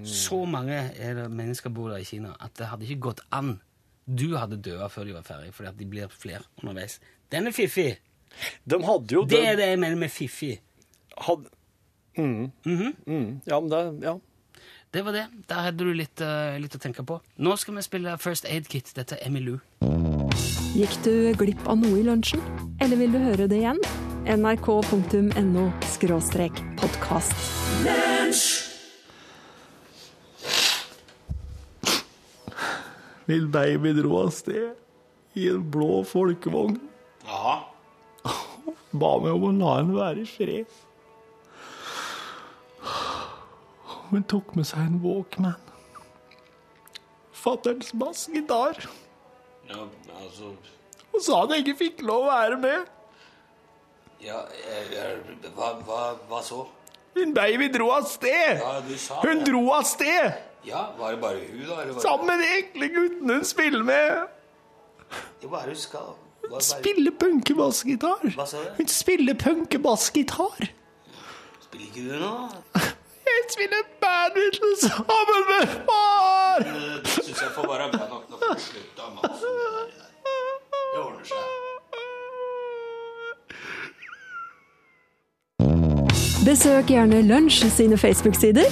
[SPEAKER 2] Så mange er det mennesker bor der i Kina at det hadde ikke gått an. Du hadde dødd før de var ferdige, fordi at de blir flere underveis. Den er fiffig.
[SPEAKER 1] de hadde jo
[SPEAKER 2] Det er det jeg mener med fiffig.
[SPEAKER 1] Hadde, mm, mm, ja, men det ja.
[SPEAKER 2] Det var det. Der hadde du litt, eh, litt å tenke på. Nå skal vi spille First Aid Kit. Dette er Emilou.
[SPEAKER 7] Gikk du glipp av noe i lunsjen? Eller vil du høre det igjen? nrk.no podkast.
[SPEAKER 8] Min baby dro av sted i en blå folkevogn. Ja. Ba meg om å la henne være i fred. Hun tok med seg en Walkman. Fatterns bassgitar.
[SPEAKER 9] Ja, altså
[SPEAKER 8] Og sa han ikke fikk lov å være med.
[SPEAKER 9] Ja, jeg, jeg, hva, hva, hva så?
[SPEAKER 8] Min baby dro av sted.
[SPEAKER 9] Ja, du sa
[SPEAKER 8] Hun
[SPEAKER 9] det.
[SPEAKER 8] dro av sted
[SPEAKER 9] Ja, var det bare hun, da? Eller var
[SPEAKER 8] sammen med de ekle guttene hun spiller med.
[SPEAKER 9] Det, hva er det hun skal? Hva, hva,
[SPEAKER 8] Spiller punkebassgitar.
[SPEAKER 9] Hva sa du?
[SPEAKER 8] Hun spiller punkebassgitar.
[SPEAKER 9] Spiller ikke du nå?
[SPEAKER 8] Jeg spiller bandwidden sammen med far!
[SPEAKER 2] Eh,
[SPEAKER 9] Det syns jeg får være bra nok. Nå får du slutte å mase om det der. Det ordner seg.
[SPEAKER 7] Besøk gjerne Lunsj sine Facebook-sider.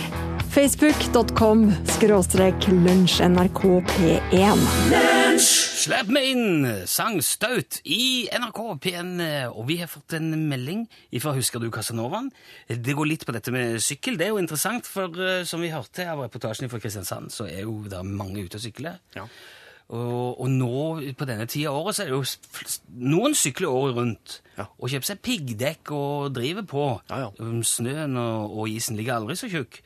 [SPEAKER 7] Facebook.com lunsjnrkp1.
[SPEAKER 2] Slipp meg inn! Sang Staut i NRK P1. Og vi har fått en melding ifra Husker du Casanovaen? Det går litt på dette med sykkel. Det er jo interessant, for eh, som vi hørte av reportasjen fra Kristiansand, så er jo det mange ute og sykler.
[SPEAKER 1] Ja.
[SPEAKER 2] Og, og nå på denne tida av året så er det jo s- fl- Noen sykler året rundt
[SPEAKER 1] Ja.
[SPEAKER 2] og kjøper seg piggdekk og driver på.
[SPEAKER 1] Ja, Mhm. ja.
[SPEAKER 2] Um, Snøen og, og isen ligger aldri så tjukk.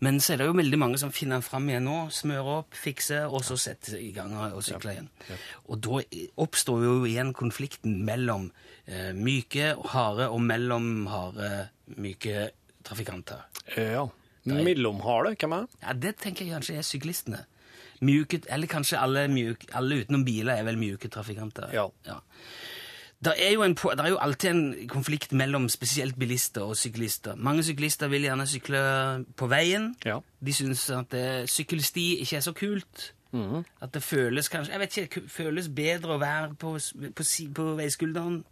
[SPEAKER 2] Men så er det jo veldig mange som finner den fram igjen nå, smører opp, fikser, og så setter i gang og sykler igjen. Og da i- oppstår jo igjen konflikten mellom eh, myke og harde, og mellom harde, myke trafikanter.
[SPEAKER 1] Eh, ja. Mellomhale, hvem er det?
[SPEAKER 2] Ja, Det tenker jeg kanskje er syklistene. Mjuke, eller kanskje alle, mjuke, alle utenom biler er vel mjuke trafikanter.
[SPEAKER 1] Ja.
[SPEAKER 2] Det er, jo en, po- der er jo alltid en konflikt mellom spesielt bilister og syklister. Mange syklister vil gjerne sykle på veien.
[SPEAKER 1] Ja.
[SPEAKER 2] De syns at eh, sykkelsti ikke er så kult.
[SPEAKER 1] Mhm.
[SPEAKER 2] At det føles kanskje Jeg vet ikke, det føles bedre å være på, s- på, si- på veiskulderen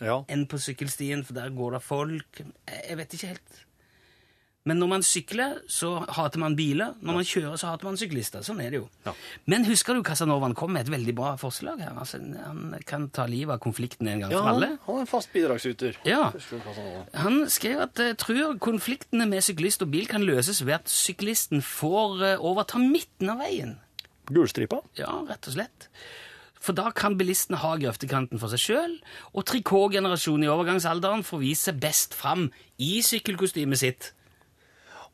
[SPEAKER 1] Ja.
[SPEAKER 2] enn på sykkelstien, for der går det folk. Jeg jeg vet ikke helt. Men når man sykler, så hater man biler. Når man kjører, så hater man syklister. Sånn er det jo.
[SPEAKER 1] Ja.
[SPEAKER 2] Men husker du Casanovaen kom med et veldig bra forslag her? Altså, han kan ta livet av konflikten en gang
[SPEAKER 1] ja
[SPEAKER 2] for alle.
[SPEAKER 1] han, han er en fast bidragsyter.
[SPEAKER 2] Ja.
[SPEAKER 1] Husker du hva han var?
[SPEAKER 2] Han skrev at eh, tror konfliktene med syklist og bil kan løses ved at syklisten får eh, overta midten av veien.
[SPEAKER 1] Gulstripa?
[SPEAKER 2] Ja, rett og slett. For da kan bilistene ha grøftekanten for seg sjøl, og trikotgenerasjonen i overgangsalderen får vise seg best fram i sykkelkostymet sitt.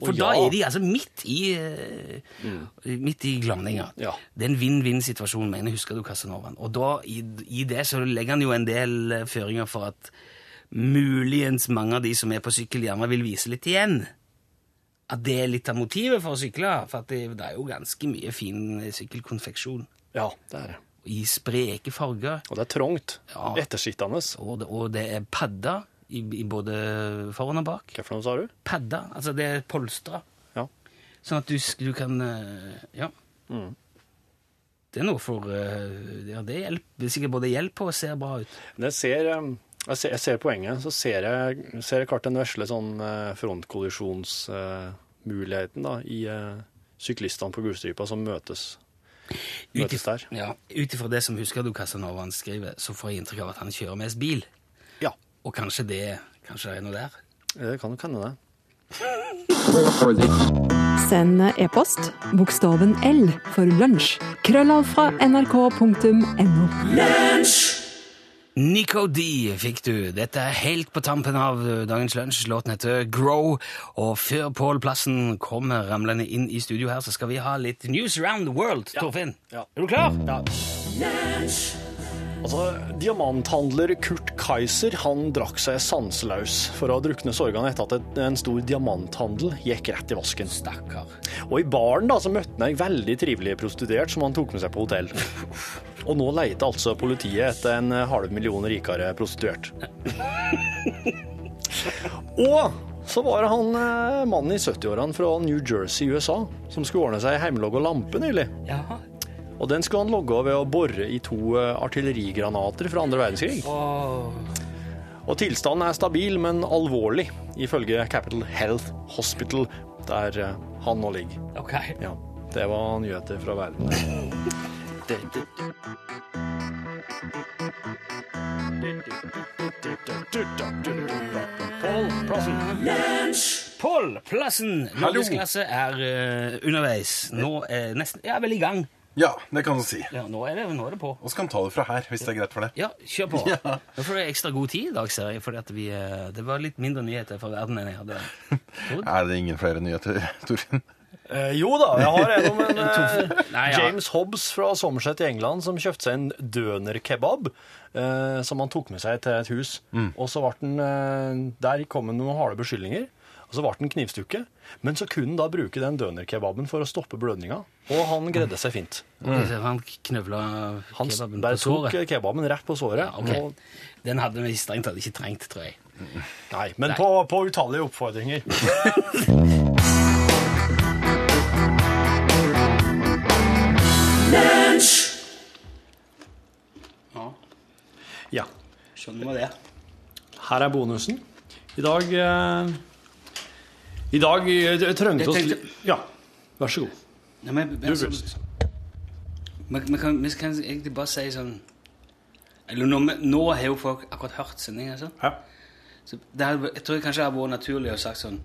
[SPEAKER 2] For
[SPEAKER 1] Å,
[SPEAKER 2] da
[SPEAKER 1] ja.
[SPEAKER 2] er de altså midt i, eh, midt i glanninga.
[SPEAKER 1] Ja.
[SPEAKER 2] Det er en vinn-vinn-situasjon, mener husker du Casanovaen. Og da, i, i det så legger han jo en del eh, føringer for at muligens mange av de som er på sykkel, gjerne vil vise litt igjen. At det er litt av motivet for å sykle. For at det, det er jo ganske mye fin eh, sykkelkonfeksjon
[SPEAKER 1] Ja, det er det.
[SPEAKER 2] i spreke farger.
[SPEAKER 1] Og det er trangt.
[SPEAKER 2] Ja.
[SPEAKER 1] Ettersittende.
[SPEAKER 2] Og det, og det er padder i, i både foran og bak.
[SPEAKER 1] Hva for noe sa du?
[SPEAKER 2] Padder, altså det er polstra.
[SPEAKER 1] Ja.
[SPEAKER 2] Sånn at du, sk- du kan eh, Ja.
[SPEAKER 1] Mm.
[SPEAKER 2] Det er noe for eh, Ja, det hjelper sikkert både hjelper og ser bra ut.
[SPEAKER 1] Men jeg ser, um, jeg ser, jeg ser poenget. Så ser jeg, ser jeg klart den vesle sånn frontkollisjonsmuligheten da, i eh, syklistene på gulstripa som møtes.
[SPEAKER 2] Ut
[SPEAKER 1] Møtes der.
[SPEAKER 2] ifra- ja, ut ifra det som husker du Casanovaen skriver, så får jeg inntrykk av at han kjører mest bil.
[SPEAKER 1] Ja.
[SPEAKER 2] Og kanskje det kanskje det er noe der.
[SPEAKER 1] Det Eh, kan jo hende, det.
[SPEAKER 7] Send e-post bokstaven L for lunsj. Krøllav fra nrk.no.
[SPEAKER 2] Nico D fikk du. Dette er helt på tampen av eh, dagens lunsj. Låten heter Grow. Og før Pål Plassen kommer ramlende inn i studio her, så skal vi ha litt News Around the World. Torfinn,
[SPEAKER 1] Ja.
[SPEAKER 2] er du klar?
[SPEAKER 1] Altså, Diamanthandler Kurt Kaiser han drakk seg sanseløs for å ha druknet sorgene etter at et- en stor diamanthandel gikk rett i vasken.
[SPEAKER 2] Stakkar.
[SPEAKER 1] Og i baren da, så møtte han en veldig trivelig prostituert som han tok med seg på hotell. Og nå leter altså politiet etter en halv million rikere prostituert. Og så var det han eh, mannen i 70-årene fra New Jersey, USA, som skulle ordne seg hjemmelogga lampe nylig.
[SPEAKER 2] Jaha.
[SPEAKER 1] Og den skulle han logge av ved å bore i to eh, artillerigranater fra andre verdenskrig. Og tilstanden er stabil, men alvorlig, ifølge Capital Health Hospital, der eh, han nå ligger.
[SPEAKER 2] Ok.
[SPEAKER 1] Ja, det var nyheter fra verden.
[SPEAKER 2] Pål Plassen, norgesklasse er eh, underveis. Nå er nesten Jeg er vel i gang.
[SPEAKER 10] Ja, det kan du si.
[SPEAKER 2] Ja, nå er det, nå er det på.
[SPEAKER 10] Og så kan vi ta det fra her, hvis det er greit for deg.
[SPEAKER 2] Ja, kjør på. Nå får du ekstra god tid i dag, ser jeg, fordi at vi, eh, det var litt mindre nyheter fra verden enn jeg hadde trodd.
[SPEAKER 10] Er det ingen flere nyheter, Torfinn?
[SPEAKER 1] Eh, jo da, jeg har en om en eh,
[SPEAKER 2] Nei, ja.
[SPEAKER 1] James Hobbs fra Somerset i England som kjøpte seg en dønerkebab eh, som han tok med seg til et hus. Og så ble den, eh, Der kom det noen harde beskyldninger, og så ble den knivstukket. Men så kunne han da bruke den dønerkebaben for å stoppe blødninga, og han greide seg fint.
[SPEAKER 2] Mm. Han knøvla
[SPEAKER 1] Han s-
[SPEAKER 2] kebaben på
[SPEAKER 1] bare tok eh,
[SPEAKER 2] såret.
[SPEAKER 1] kebaben rett på såret.
[SPEAKER 2] Ja, ok.
[SPEAKER 1] og,
[SPEAKER 2] Den hadde vi strengt tatt ikke trengt, tror jeg.
[SPEAKER 1] nei, men
[SPEAKER 2] Nei.
[SPEAKER 1] På, på utallige oppfordringer. Ja.
[SPEAKER 2] Skjønner du det?
[SPEAKER 1] Her er bonusen. I dag eh, I dag eh, trengte oss
[SPEAKER 2] tenkte-
[SPEAKER 1] Ja, vær så god.
[SPEAKER 2] Nei, men, men, altså, man, man kan, vi kan egentlig bare si sånn eller nå, nå har jo folk akkurat hørt sendingen, altså.
[SPEAKER 1] Ja.
[SPEAKER 2] Så det hadde, jeg tror kanskje det hadde vært naturlig å sagt sånn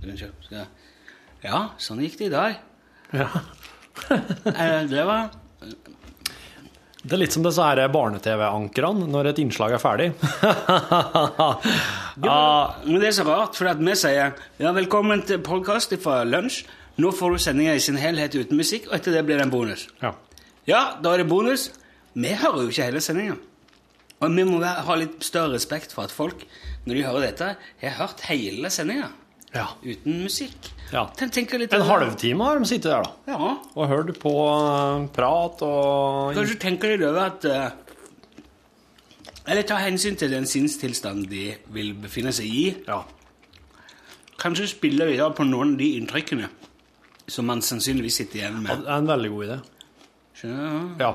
[SPEAKER 2] Unnskyld. skal jeg- Ja, sånn gikk det i dag. Eh, det var
[SPEAKER 1] Det er litt som disse her barne-TV-ankerne når et innslag er ferdig.
[SPEAKER 2] Ja, men det er så rart, for at vi sier ja, velkommen til podkast fra lunsj. Nå får du sendinga i sin helhet uten musikk, og etter det blir det en bonus.
[SPEAKER 1] ja.
[SPEAKER 2] Ja, da er det bonus. Vi hører jo ikke hele sendinga. Og vi må være, ha litt større respekt for at folk, når de hører dette, har hørt hele sendinga
[SPEAKER 1] ja.
[SPEAKER 2] uten musikk.
[SPEAKER 1] Ja.
[SPEAKER 2] Ten- tenk litt
[SPEAKER 1] En
[SPEAKER 2] over-
[SPEAKER 1] halvtime har de sittet der, da.
[SPEAKER 2] Ja.
[SPEAKER 1] Og hørt på eh, prat og
[SPEAKER 2] Kanskje tenker de over at eh, Eller ta hensyn til den sinnstilstanden de vil befinne seg i.
[SPEAKER 1] Ja.
[SPEAKER 2] Kanskje spiller vi da på noen av de inntrykkene som man sannsynligvis sitter igjen
[SPEAKER 1] Ja,
[SPEAKER 2] med.
[SPEAKER 1] Det er en veldig god idé.
[SPEAKER 2] Skjønner du?
[SPEAKER 1] Ja.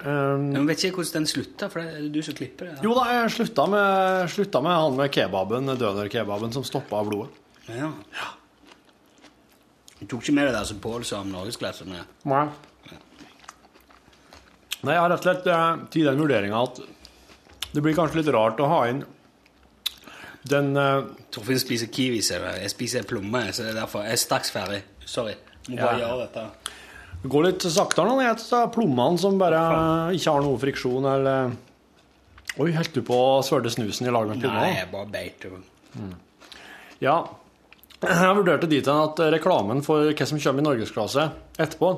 [SPEAKER 1] Um,
[SPEAKER 2] Jeg vet ikke hvordan den slutter, for det er du som klipper det. da.
[SPEAKER 1] jo da, jeg slutta med, slutta med han med kebaben, dønerkebaben som stoppa blodet.
[SPEAKER 2] Ja. Du tok ikke med det der som Pål sa om norgesklassen? ja.
[SPEAKER 1] Nei. Nei, jeg har rett og slett eh, til den vurderinga at det blir kanskje litt rart å ha inn den eh,
[SPEAKER 2] Torfinn spiser kiwi, ser du. Jeg spiser plomme, så det er derfor. Jeg er straks ferdig. Sorry. Må bare
[SPEAKER 1] Ja.
[SPEAKER 2] gjøre dette.
[SPEAKER 1] Det går litt saktere når jeg tar plommene som bare eh, ikke har noe friksjon eller Oi, holdt du på å svøle snusen i lag med
[SPEAKER 2] Nei,
[SPEAKER 1] plommene?
[SPEAKER 2] jeg bare beit. jo.
[SPEAKER 1] Ja. Jeg vurderte dit hen at reklamen for hva som kommer i norgesklasse etterpå,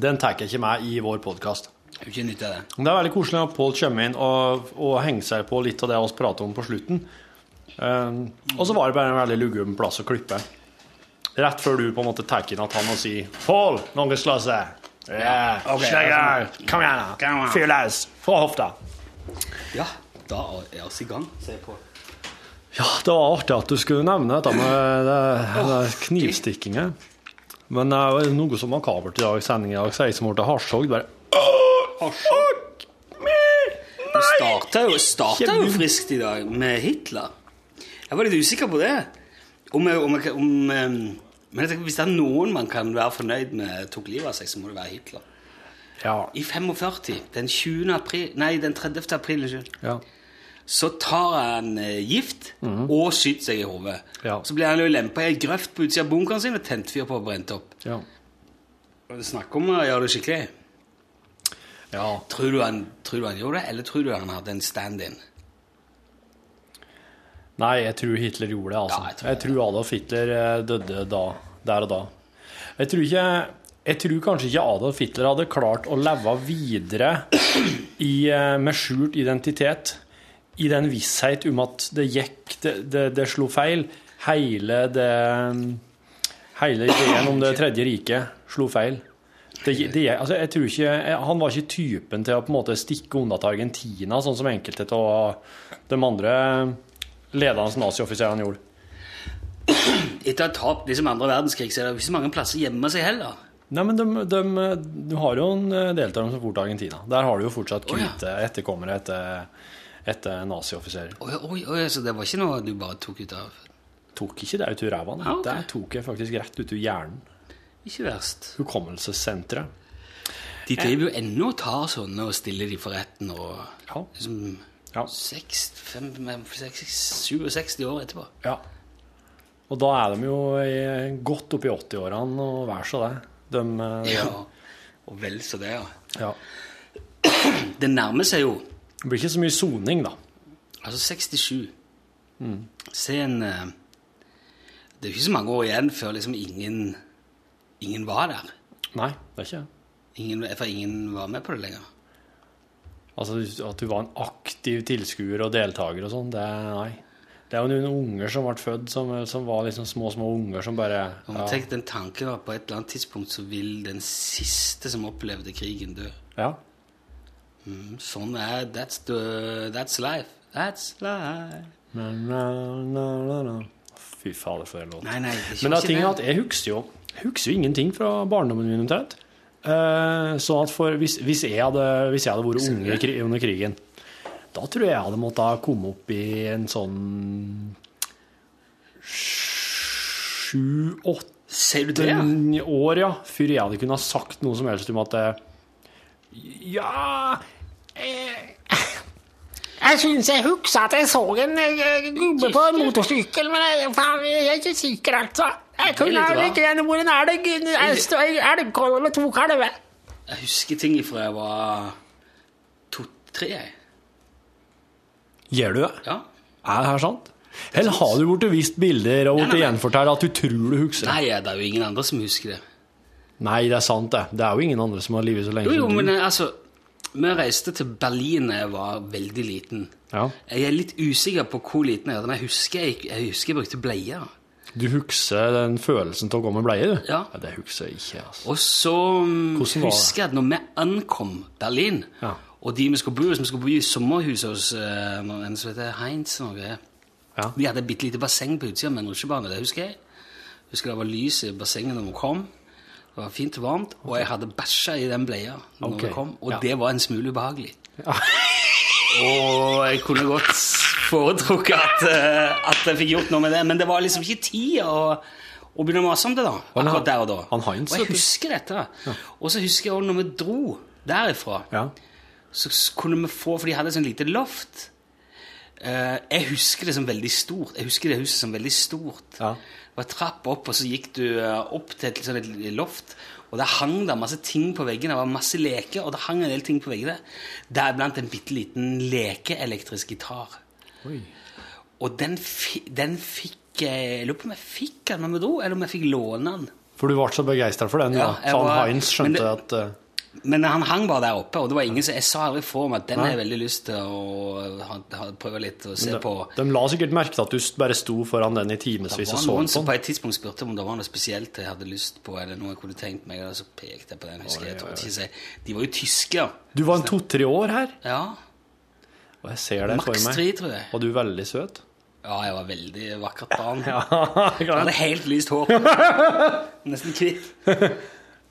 [SPEAKER 1] den tar jeg ikke med i vår podkast.
[SPEAKER 2] Jeg har ikke nytte av det.
[SPEAKER 1] Men Det er veldig koselig at Pål kommer inn og, og henger seg på litt av det vi prater om på slutten. Ehm, og så var det bare en veldig lugum plass å klippe. Rett før du på en måte tar inn at han og sier 'Pål, noen slår seg'. Yeah.
[SPEAKER 2] ok,
[SPEAKER 1] Slegger, kom igjen,
[SPEAKER 2] Kom
[SPEAKER 1] da.
[SPEAKER 2] igjen.
[SPEAKER 1] Fyr løs. Fra hofta.
[SPEAKER 2] Ja, da er vi i gang. Se på.
[SPEAKER 1] Ja, det var artig at du skulle nevne dette med det, det knivstikkingen. Men det er jo noe som makabert i dag, sending i dag, så jeg som ble hardtogd, bare
[SPEAKER 2] Vi starta jo, starta jo friskt i dag med Hitler. Jeg var litt usikker på det. Om, jeg- om, jeg- om, eh, men jeg tenker, hvis det er noen man kan være fornøyd med tok livet av seg, så må det være Hitler.
[SPEAKER 1] Ja.
[SPEAKER 2] I 45, den 20. april Nei, den 30. april, unnskyld,
[SPEAKER 1] ja. Mhm.
[SPEAKER 2] Så tar han eh, gift og skyter seg i hodet. Så blir han jo lempa i ei grøft på utsida av bunkeren sin og tent fyr på og brent opp.
[SPEAKER 1] Ja.
[SPEAKER 2] Snakk om å gjøre det skikkelig. Tror, du han, tror du han gjorde det, eller tror du han hadde en stand-in?
[SPEAKER 1] Nei, jeg tror Hitler gjorde det, altså. jeg, tror Adolf Hitler eh, døde da, der og da. Jeg tror, ikke, jeg tror kanskje ikke Adolf Hitler hadde klart å leve videre i, eh, med skjult identitet i den visshet om at det gikk, det, det, det slo feil. Hele det Hele ideen om Det tredje riket slo feil. Det, det, altså, jeg tror ikke, han var ikke typen til å på en måte stikke unna til Argentina, sånn som enkelte av de andre ledende nazioffiserene gjorde.
[SPEAKER 2] Etter å ha tapt liksom andre verdenskrig, så er det ikke så mange plasser å gjemme seg heller.
[SPEAKER 1] Nei, men de, de, du har jo en del av dem som for til Argentina. Der har du jo fortsatt hvite etterkommere etter, etter nazioffiserer.
[SPEAKER 2] Oi, oi, oi, så det var ikke noe du bare tok ut av
[SPEAKER 1] Tok ikke det ut av ræva? nei.
[SPEAKER 2] Ja, ok.
[SPEAKER 1] Det tok jeg faktisk rett ut av hjernen.
[SPEAKER 2] Ikke verst.
[SPEAKER 1] Hukommelsessenteret.
[SPEAKER 2] De
[SPEAKER 1] Eh.
[SPEAKER 2] driver jo ennå og tar sånne og stiller de for retten og
[SPEAKER 1] Ja.
[SPEAKER 2] liksom
[SPEAKER 1] Ja.
[SPEAKER 2] 6, 5, 6, 67 år etterpå.
[SPEAKER 1] ja. Og da er de jo i- godt opp i 80-årene, og vær så det. De, eh,
[SPEAKER 2] Ja, og vel så det, ja.
[SPEAKER 1] ja.
[SPEAKER 2] Det nærmer seg jo
[SPEAKER 1] Det blir ikke så mye soning, da.
[SPEAKER 2] altså 67.
[SPEAKER 1] Mm.
[SPEAKER 2] Se en eh, Det er jo ikke så mange år igjen før liksom ingen, ingen var der.
[SPEAKER 1] Nei, det er ikke det.
[SPEAKER 2] Ingen, for ingen var med på det lenger.
[SPEAKER 1] Altså at du var en aktiv tilskuer og deltaker og sånn, det nei. Det er jo noen unger som ble født som, som var liksom små, små unger som bare
[SPEAKER 2] Og
[SPEAKER 1] ja,
[SPEAKER 2] Tenk den tanken at på et eller annet tidspunkt så vil den siste som opplevde krigen, dø.
[SPEAKER 1] ja.
[SPEAKER 2] Sånn er That's, the, that's life. That's life.
[SPEAKER 1] Na, na, na, na, na. Fy fader, for en låt.
[SPEAKER 2] Nei, nei, det
[SPEAKER 1] Men
[SPEAKER 2] ikke
[SPEAKER 1] det er ting
[SPEAKER 2] det.
[SPEAKER 1] at jeg husker jo, jeg husker jo ingenting fra barndommen min omtrent. Eh, sånn at for, hvis, hvis, jeg hadde, hvis jeg hadde vært unge i kri- under krigen, da tror jeg jeg hadde måttet ha komme opp i en sånn sju-åtte
[SPEAKER 2] Ser du det? ja?
[SPEAKER 1] åtte år, ja, før jeg hadde kunnet ha sagt noe som helst om at eh, Ja
[SPEAKER 11] Jeg syns jeg husker at jeg så en eh, gubbe på en motorsykkel, men jeg, faen, jeg er ikke sikker, altså. Jeg kunne
[SPEAKER 2] litt
[SPEAKER 11] ha
[SPEAKER 2] rart.
[SPEAKER 11] like gjerne vært en elg. en- en stor Elgkolve med to kalver.
[SPEAKER 2] Jeg husker ting fra jeg var to-tre.
[SPEAKER 1] Gjør du det?
[SPEAKER 2] Ja.
[SPEAKER 1] Er det her sant? Eller har du blitt vist bilder og
[SPEAKER 2] Nei, nei,
[SPEAKER 1] blitt
[SPEAKER 2] nei.
[SPEAKER 1] gjenfortalt at du tror du husker?
[SPEAKER 2] Nei, det er jo ingen andre som husker det.
[SPEAKER 1] Nei, det er sant, det. Det er jo ingen andre som har livet så lenge
[SPEAKER 2] Jo, jo,
[SPEAKER 1] som
[SPEAKER 2] men
[SPEAKER 1] du.
[SPEAKER 2] eh, altså Vi reiste til Berlin da jeg var veldig liten.
[SPEAKER 1] Ja.
[SPEAKER 2] Jeg er litt usikker på hvor liten jeg var, men jeg husker jeg, jeg, husker jeg brukte bleier.
[SPEAKER 1] Du husker den følelsen av å gå med bleie, du?
[SPEAKER 2] Ja.
[SPEAKER 1] Det husker jeg ikke, altså.
[SPEAKER 2] Og så mm,
[SPEAKER 1] Hvordan var det?
[SPEAKER 2] husker jeg at når vi ankom Berlin,
[SPEAKER 1] Ja.
[SPEAKER 2] og de vi skulle bo hos, vi skulle bo i sommerhuset hos eh, noen- en som heter Heinz og noe greier.
[SPEAKER 1] Ja.
[SPEAKER 2] Vi hadde et bitte lite basseng på utsida med en rutsjebane, det husker jeg. Husker det var lys i bassenget når vi kom. Det var fint og varmt, og jeg hadde bæsja i den bleia når
[SPEAKER 1] Ok,
[SPEAKER 2] vi kom, og
[SPEAKER 1] ja.
[SPEAKER 2] det var en smule ubehagelig. og jeg kunne godt foretrukket at, eh, at jeg fikk gjort noe med det, men det var liksom ikke tid å, å begynne å mase om det, da.
[SPEAKER 1] han-
[SPEAKER 2] Akkurat der og da.
[SPEAKER 1] han Heinz,
[SPEAKER 2] og
[SPEAKER 1] vet
[SPEAKER 2] jeg
[SPEAKER 1] du.
[SPEAKER 2] husker dette. Og så husker jeg også når vi dro derifra
[SPEAKER 1] Ja.
[SPEAKER 2] så s- kunne vi få, for de hadde sånn lite loft. Eh, jeg husker det som veldig stort. Jeg husker det huset som veldig stort.
[SPEAKER 1] Ja.
[SPEAKER 2] Det var trapp opp, og så gikk du eh, opp til et, sånn et l- loft, og der hang det masse ting på veggene. Det var masse leker, og det hang en del ting på veggene. Deriblant en bitte liten lekeelektrisk gitar.
[SPEAKER 1] Oi.
[SPEAKER 2] Og den, fi, den fikk eh, Jeg lurer på om jeg fikk den når vi dro, eller om jeg fikk låne den.
[SPEAKER 1] For du ble så begeistra for den, ja.
[SPEAKER 2] Ja, jeg
[SPEAKER 1] Så
[SPEAKER 2] var-
[SPEAKER 1] han Heinz
[SPEAKER 2] men
[SPEAKER 1] skjønte
[SPEAKER 2] det-
[SPEAKER 1] at eh,
[SPEAKER 2] Men han hang bare der oppe, og det var ingen som Jeg sa aldri for meg at den har jeg
[SPEAKER 1] Nei.
[SPEAKER 2] veldig lyst til å ha, ha, prøve litt og se
[SPEAKER 1] de,
[SPEAKER 2] på.
[SPEAKER 1] de la sikkert merke til at du bare sto foran den i
[SPEAKER 2] Det
[SPEAKER 1] timevis og
[SPEAKER 2] var
[SPEAKER 1] så på
[SPEAKER 2] noen som
[SPEAKER 1] den. sånn?
[SPEAKER 2] på et tidspunkt spurte om det var noe spesielt jeg hadde lyst på, eller noe jeg kunne tenkt meg, og så pekte jeg på den. husker jeg, jeg tror ikke jeg sier- De var jo tyske,
[SPEAKER 1] Du var en to-tre år her.
[SPEAKER 2] ja.
[SPEAKER 1] Og jeg ser det for
[SPEAKER 2] Maks tre,
[SPEAKER 1] meg.
[SPEAKER 2] tror jeg.
[SPEAKER 1] Var du veldig søt?
[SPEAKER 2] Ja, jeg var veldig vakkert barn.
[SPEAKER 1] Ja,
[SPEAKER 2] Jeg hadde helt lyst hår. Nesten kvitt. sånn-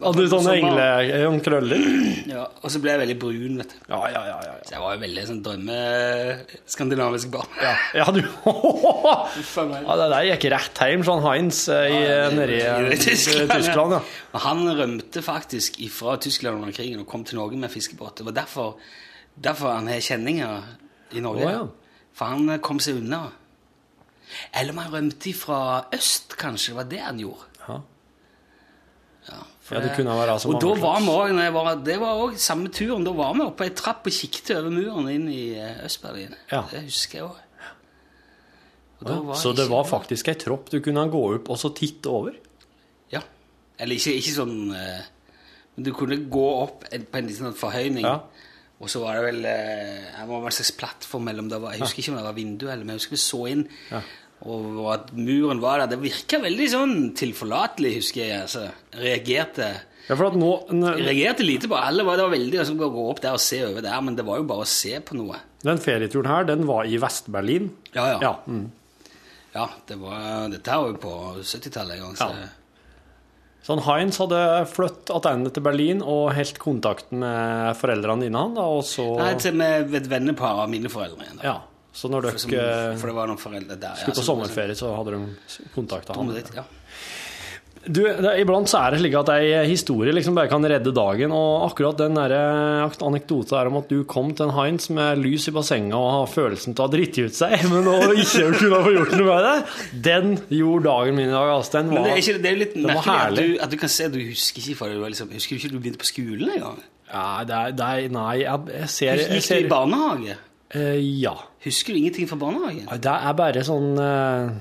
[SPEAKER 1] Hadde du sånne
[SPEAKER 2] Som barn.
[SPEAKER 1] Sånn engle... Noen krøller?
[SPEAKER 2] Ja, og så ble jeg veldig brun, vet du.
[SPEAKER 1] Ja, ja, ja. ja, ja.
[SPEAKER 2] Så jeg var jo veldig sånn drømmeskandinavisk barn. Ja.
[SPEAKER 1] ja du ja, Det der gikk rett hjem, sånn Heinz eh, i, nede i, i Tyskland. Ja.
[SPEAKER 2] Og han rømte faktisk fra Tyskland under krigen og kom til Norge med fiskebåt. Det var derfor, derfor han har kjenninger i Norge.
[SPEAKER 1] Å, ja.
[SPEAKER 2] For han eh, kom seg unna. Eller om han rømte fra øst, kanskje. Det var det han gjorde.
[SPEAKER 1] Ja.
[SPEAKER 2] For
[SPEAKER 1] Ja, det kunne han være, altså,
[SPEAKER 2] og da
[SPEAKER 1] mange
[SPEAKER 2] var
[SPEAKER 1] slags.
[SPEAKER 2] vi også, når jeg var, Det var òg samme turen. Da var vi oppe på ei trapp og kikket over muren inn i eh, Øst-Berlin. Det husker jeg òg. Og da
[SPEAKER 1] Ja,
[SPEAKER 2] var
[SPEAKER 1] Så
[SPEAKER 2] ikke-
[SPEAKER 1] det var faktisk ei tropp du kunne gå opp og så titte over?
[SPEAKER 2] Ja. Eller ikke, ikke sånn eh, Men du kunne gå opp en- på en liten sånn forhøyning. Og så var det vel eh, Jeg må være en slags plattform mellom det var, Jeg husker ikke om det var vindu eller men jeg husker vi så inn. Og og at muren var der. Det virka veldig sånn tilforlatelig, husker jeg. altså. Reagerte
[SPEAKER 1] Ja, for at nå...
[SPEAKER 2] Reagerte lite på alle. Var, det var veldig altså, bare gå opp der og se over der, men det var jo bare å se på noe.
[SPEAKER 1] Den ferieturen her, den var i Vest-Berlin.
[SPEAKER 2] Ja, ja.
[SPEAKER 1] mm.
[SPEAKER 2] Ja, det var, Dette er jo på 70-tallet en gang. Så.
[SPEAKER 1] Så han Heinz hadde flyttet tilbake til Berlin og holdt kontakten med foreldrene dine, han, da, og så
[SPEAKER 2] Nei, til med et vennepar av mine foreldre igjen. da.
[SPEAKER 1] Ja. Så når dere
[SPEAKER 2] For, som, for det var noen foreldre der.
[SPEAKER 1] Eh, skulle
[SPEAKER 2] ja,
[SPEAKER 1] på
[SPEAKER 2] som-
[SPEAKER 1] sommerferie, så hadde de kontakta
[SPEAKER 2] Dumme
[SPEAKER 1] han.
[SPEAKER 2] dritt, ja.
[SPEAKER 1] Du, det, iblant så er det slik at ei historie liksom bare kan redde dagen, og akkurat den der eh, anekdoten der om at du kom til en Heinz med lys i bassenget og har følelsen til å ha driti ut seg, men å ikke kunne få gjort noe med det, den gjorde dagen min i dag. Altså, den
[SPEAKER 2] Men
[SPEAKER 1] var,
[SPEAKER 2] det er, ikke, det er jo litt
[SPEAKER 1] den var
[SPEAKER 2] merkelig at
[SPEAKER 1] herlig.
[SPEAKER 2] du, at du kan se at du husker ikke fra du var liksom, Husker du ikke du begynte på skolen engang?
[SPEAKER 1] Ja, det er, det er Nei, jeg, jeg ser jeg
[SPEAKER 2] Gikk du
[SPEAKER 1] ser-
[SPEAKER 2] i barnehage?
[SPEAKER 1] Eh, ja.
[SPEAKER 2] Husker du ingenting fra barnehagen?
[SPEAKER 1] Nei, Det er bare sånn eh,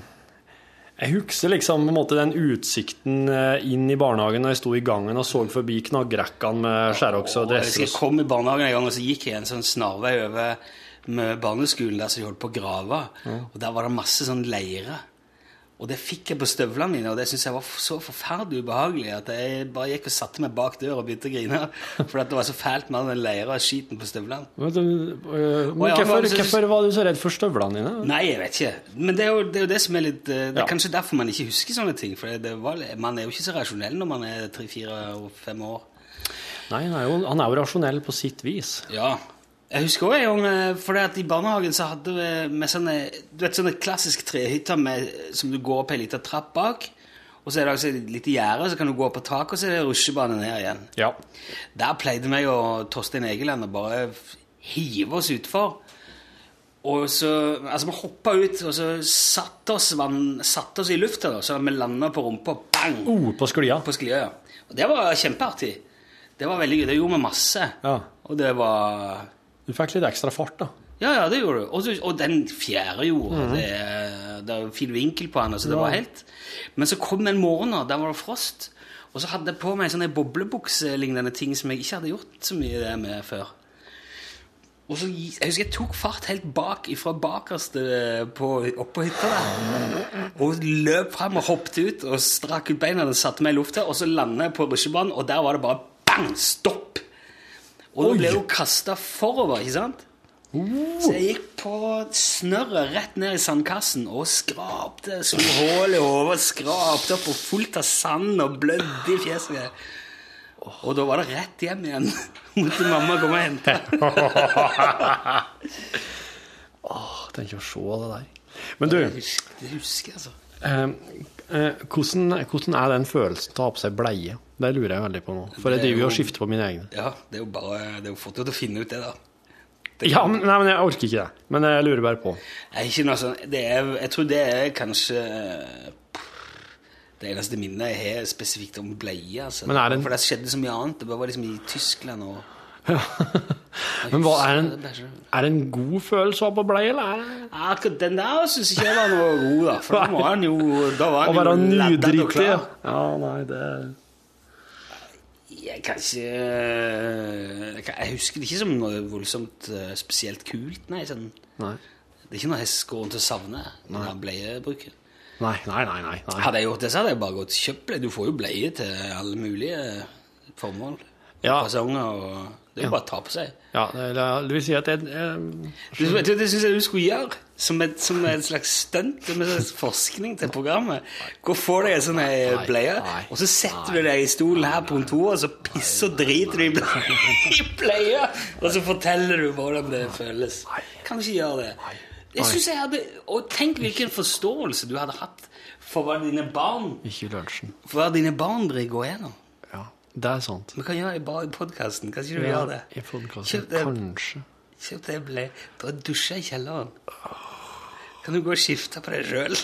[SPEAKER 1] Jeg husker liksom på en måte den utsikten eh, inn i barnehagen når jeg sto i gangen og så forbi knaggrekkene med skjærokse og
[SPEAKER 2] Og jeg husker jeg
[SPEAKER 1] dresser.
[SPEAKER 2] kom i barnehagen en gang, og så gikk jeg en sånn snarvei over med barneskolen der som de holdt på å grave. Ja. Og der var det masse sånn leire. Og det fikk jeg på støvlene mine, og det syntes jeg var f- så forferdelig ubehagelig at jeg bare gikk og satte meg bak døra og begynte å grine. For at det var så fælt med all den leira og skiten på støvlene.
[SPEAKER 1] Men du, eh,
[SPEAKER 2] Å,
[SPEAKER 1] men
[SPEAKER 2] ja,
[SPEAKER 1] hvorfor,
[SPEAKER 2] men så-
[SPEAKER 1] hvorfor var du så redd for støvlene dine?
[SPEAKER 2] Nei, jeg vet ikke. Men det er jo det, er jo det som er litt eh, Det er
[SPEAKER 1] Ja.
[SPEAKER 2] kanskje derfor man ikke husker sånne ting. For det var, man er jo ikke så rasjonell når man er tre-fire-fem år.
[SPEAKER 1] Nei, han er, jo, han er jo rasjonell på sitt vis.
[SPEAKER 2] Ja. Jeg husker også en gang eh, For det at i barnehagen så hadde vi med sånne Du vet sånne klassisk trehytter med, som du går opp ei lita trapp bak. Og så er det altså et lite gjerde, så kan du gå opp på taket, og så er det rutsjebane ned igjen.
[SPEAKER 1] Ja.
[SPEAKER 2] Der pleide vi og Torstein Egeland å bare f- hive oss utfor. Og så, altså Vi hoppa ut, og så satte oss, vann- satte oss i lufta, da, så vi landa på rumpa. Bang!
[SPEAKER 1] Oh, på sklia.
[SPEAKER 2] På sklia, ja. Og det var kjempeartig. Det var veldig gøy. Det gjorde vi masse.
[SPEAKER 1] Ja.
[SPEAKER 2] Og det var
[SPEAKER 1] Du fikk litt ekstra fart, da.
[SPEAKER 2] Ja, ja, det gjorde du. Og, så- og den fjerde gjorde
[SPEAKER 1] Mhm.
[SPEAKER 2] det. er- Det er jo fin vinkel på den, så det
[SPEAKER 1] Ja.
[SPEAKER 2] var helt Men så kom det en morgen, og der var det frost. Og så hadde jeg på meg sånne boblebukselignende ting som jeg ikke hadde gjort så mye det med før. Og så, gi- Jeg husker jeg tok fart helt bak ifra bakerste på, opp på hytta der. Og løp fram og hoppet ut og strakk ut beina og satte meg i lufta. Og så landet jeg på rusjebanen, og der var det bare bang! Stopp! Og da ble jeg jo kasta forover, ikke sant? Så jeg gikk på snørret rett ned i sandkassen og skrapte. Slo hull i hodet, skrapte opp og fullt av sand og blødde i fjeset. Og da var det rett hjem igjen. Måtte mamma komme og hente.
[SPEAKER 1] Åh, tenker å se det der. Men du,
[SPEAKER 2] Det husker jeg, altså.
[SPEAKER 1] Eh, eh, hvordan, hvordan er den følelsen til å ha på seg bleie? Det lurer jeg veldig på nå. For jeg
[SPEAKER 2] Det er
[SPEAKER 1] driver jo og
[SPEAKER 2] jo-
[SPEAKER 1] skifter på mine egne.
[SPEAKER 2] Ja, det er jo bare Det er jo fort gjort å finne ut det, da. Det-
[SPEAKER 1] Ja, men, nei, men jeg orker ikke det. Men jeg lurer bare på.
[SPEAKER 2] Jeg, er ikke noe sånn, det er, jeg tror det er kanskje eh, det eneste minnet jeg har spesifikt om bleie. Altså.
[SPEAKER 1] Men er det en-
[SPEAKER 2] For det skjedde så mye annet. Det var liksom i Tyskland og
[SPEAKER 1] Men hva, er,
[SPEAKER 2] det er
[SPEAKER 1] en, er det en god følelse å ha på bleie, eller er det
[SPEAKER 2] Akkurat den der syns ikke jeg var noe god, da. For da var han jo da var
[SPEAKER 1] å
[SPEAKER 2] han
[SPEAKER 1] være
[SPEAKER 2] jo laddet og
[SPEAKER 1] nydriktig?
[SPEAKER 2] klar.
[SPEAKER 1] Ja, nei, det
[SPEAKER 2] Jeg kan ikke jeg kan- Jeg husker det ikke som noe voldsomt eh, spesielt kult, nei. Sånn.
[SPEAKER 1] Nei.
[SPEAKER 2] Det er ikke noe jeg går rundt og savner. den der Bleiebruken.
[SPEAKER 1] Nei, nei, nei. nei, nei.
[SPEAKER 2] Hadde jeg gjort det, så hadde jeg bare gått og kjøpt bleie. Du får jo bleie til alle mulige eh, formål.
[SPEAKER 1] Ja.
[SPEAKER 2] Fasonger og Det er jo bare å ta på seg.
[SPEAKER 1] Ja, det vil si at jeg, jeg
[SPEAKER 2] Du, vet du, det syns jeg du skulle gjøre, som et, som et slags stunt, som en slags forskning til programmet. Gå og få deg en sånn her bleie, og så setter du deg i stolen her på kontoret, og så pisser og driter du i ble- i bleia, og så forteller du hvordan det føles. Kan du ikke gjøre det? Jeg synes jeg hadde, Og tenk hvilken forståelse du hadde hatt for hva dine barn
[SPEAKER 1] Ikke lunsjen.
[SPEAKER 2] For hva dine barn bør gå gjennom.
[SPEAKER 1] Det er sant.
[SPEAKER 2] Vi kan gjøre det bare i podkasten. Kan ikke du gjøre det?
[SPEAKER 1] I podcasten.
[SPEAKER 2] Kjøp eh, det.
[SPEAKER 1] Kanskje.
[SPEAKER 2] Så det ble Da dusja i kjelleren. Kan du gå og skifte på deg sjøl?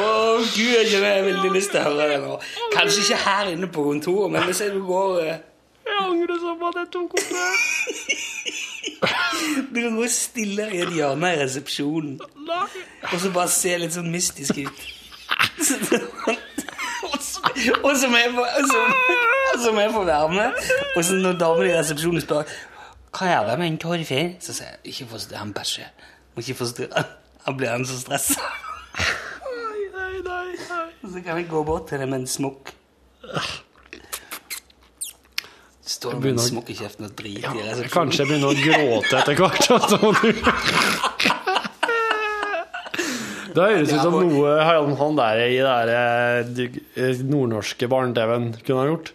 [SPEAKER 2] Å, gud, jeg kjenner jeg har veldig lyst til å høre det nå. Kanskje ikke her inne på kontoret, men hvis jeg du går eh,
[SPEAKER 12] Jeg angrer sånn på at jeg tok opp det.
[SPEAKER 2] Du kan gå stille i et hjørne i resepsjonen og så bare se litt sånn mystisk ut. Og så må jeg få og så- og så må jeg få være med. Og så når damen i resepsjonen spør hva er det med en Torfinn, så sier jeg ikke forstyrr, han bæsjer. Må ikke forstyrre. Han blir han så stressa.
[SPEAKER 12] Nei, nei, nei.
[SPEAKER 2] Så kan jeg gå bort til det med en smokk. Står det med en
[SPEAKER 1] Begynner-
[SPEAKER 2] smokk i kjeften og driter i resepsjonen.
[SPEAKER 1] Kanskje jeg begynner å gråte etter hvert. altså, må du- Det høres ut som noe han han der i det der, eh, nordnorske barne-TV-en kunne ha gjort.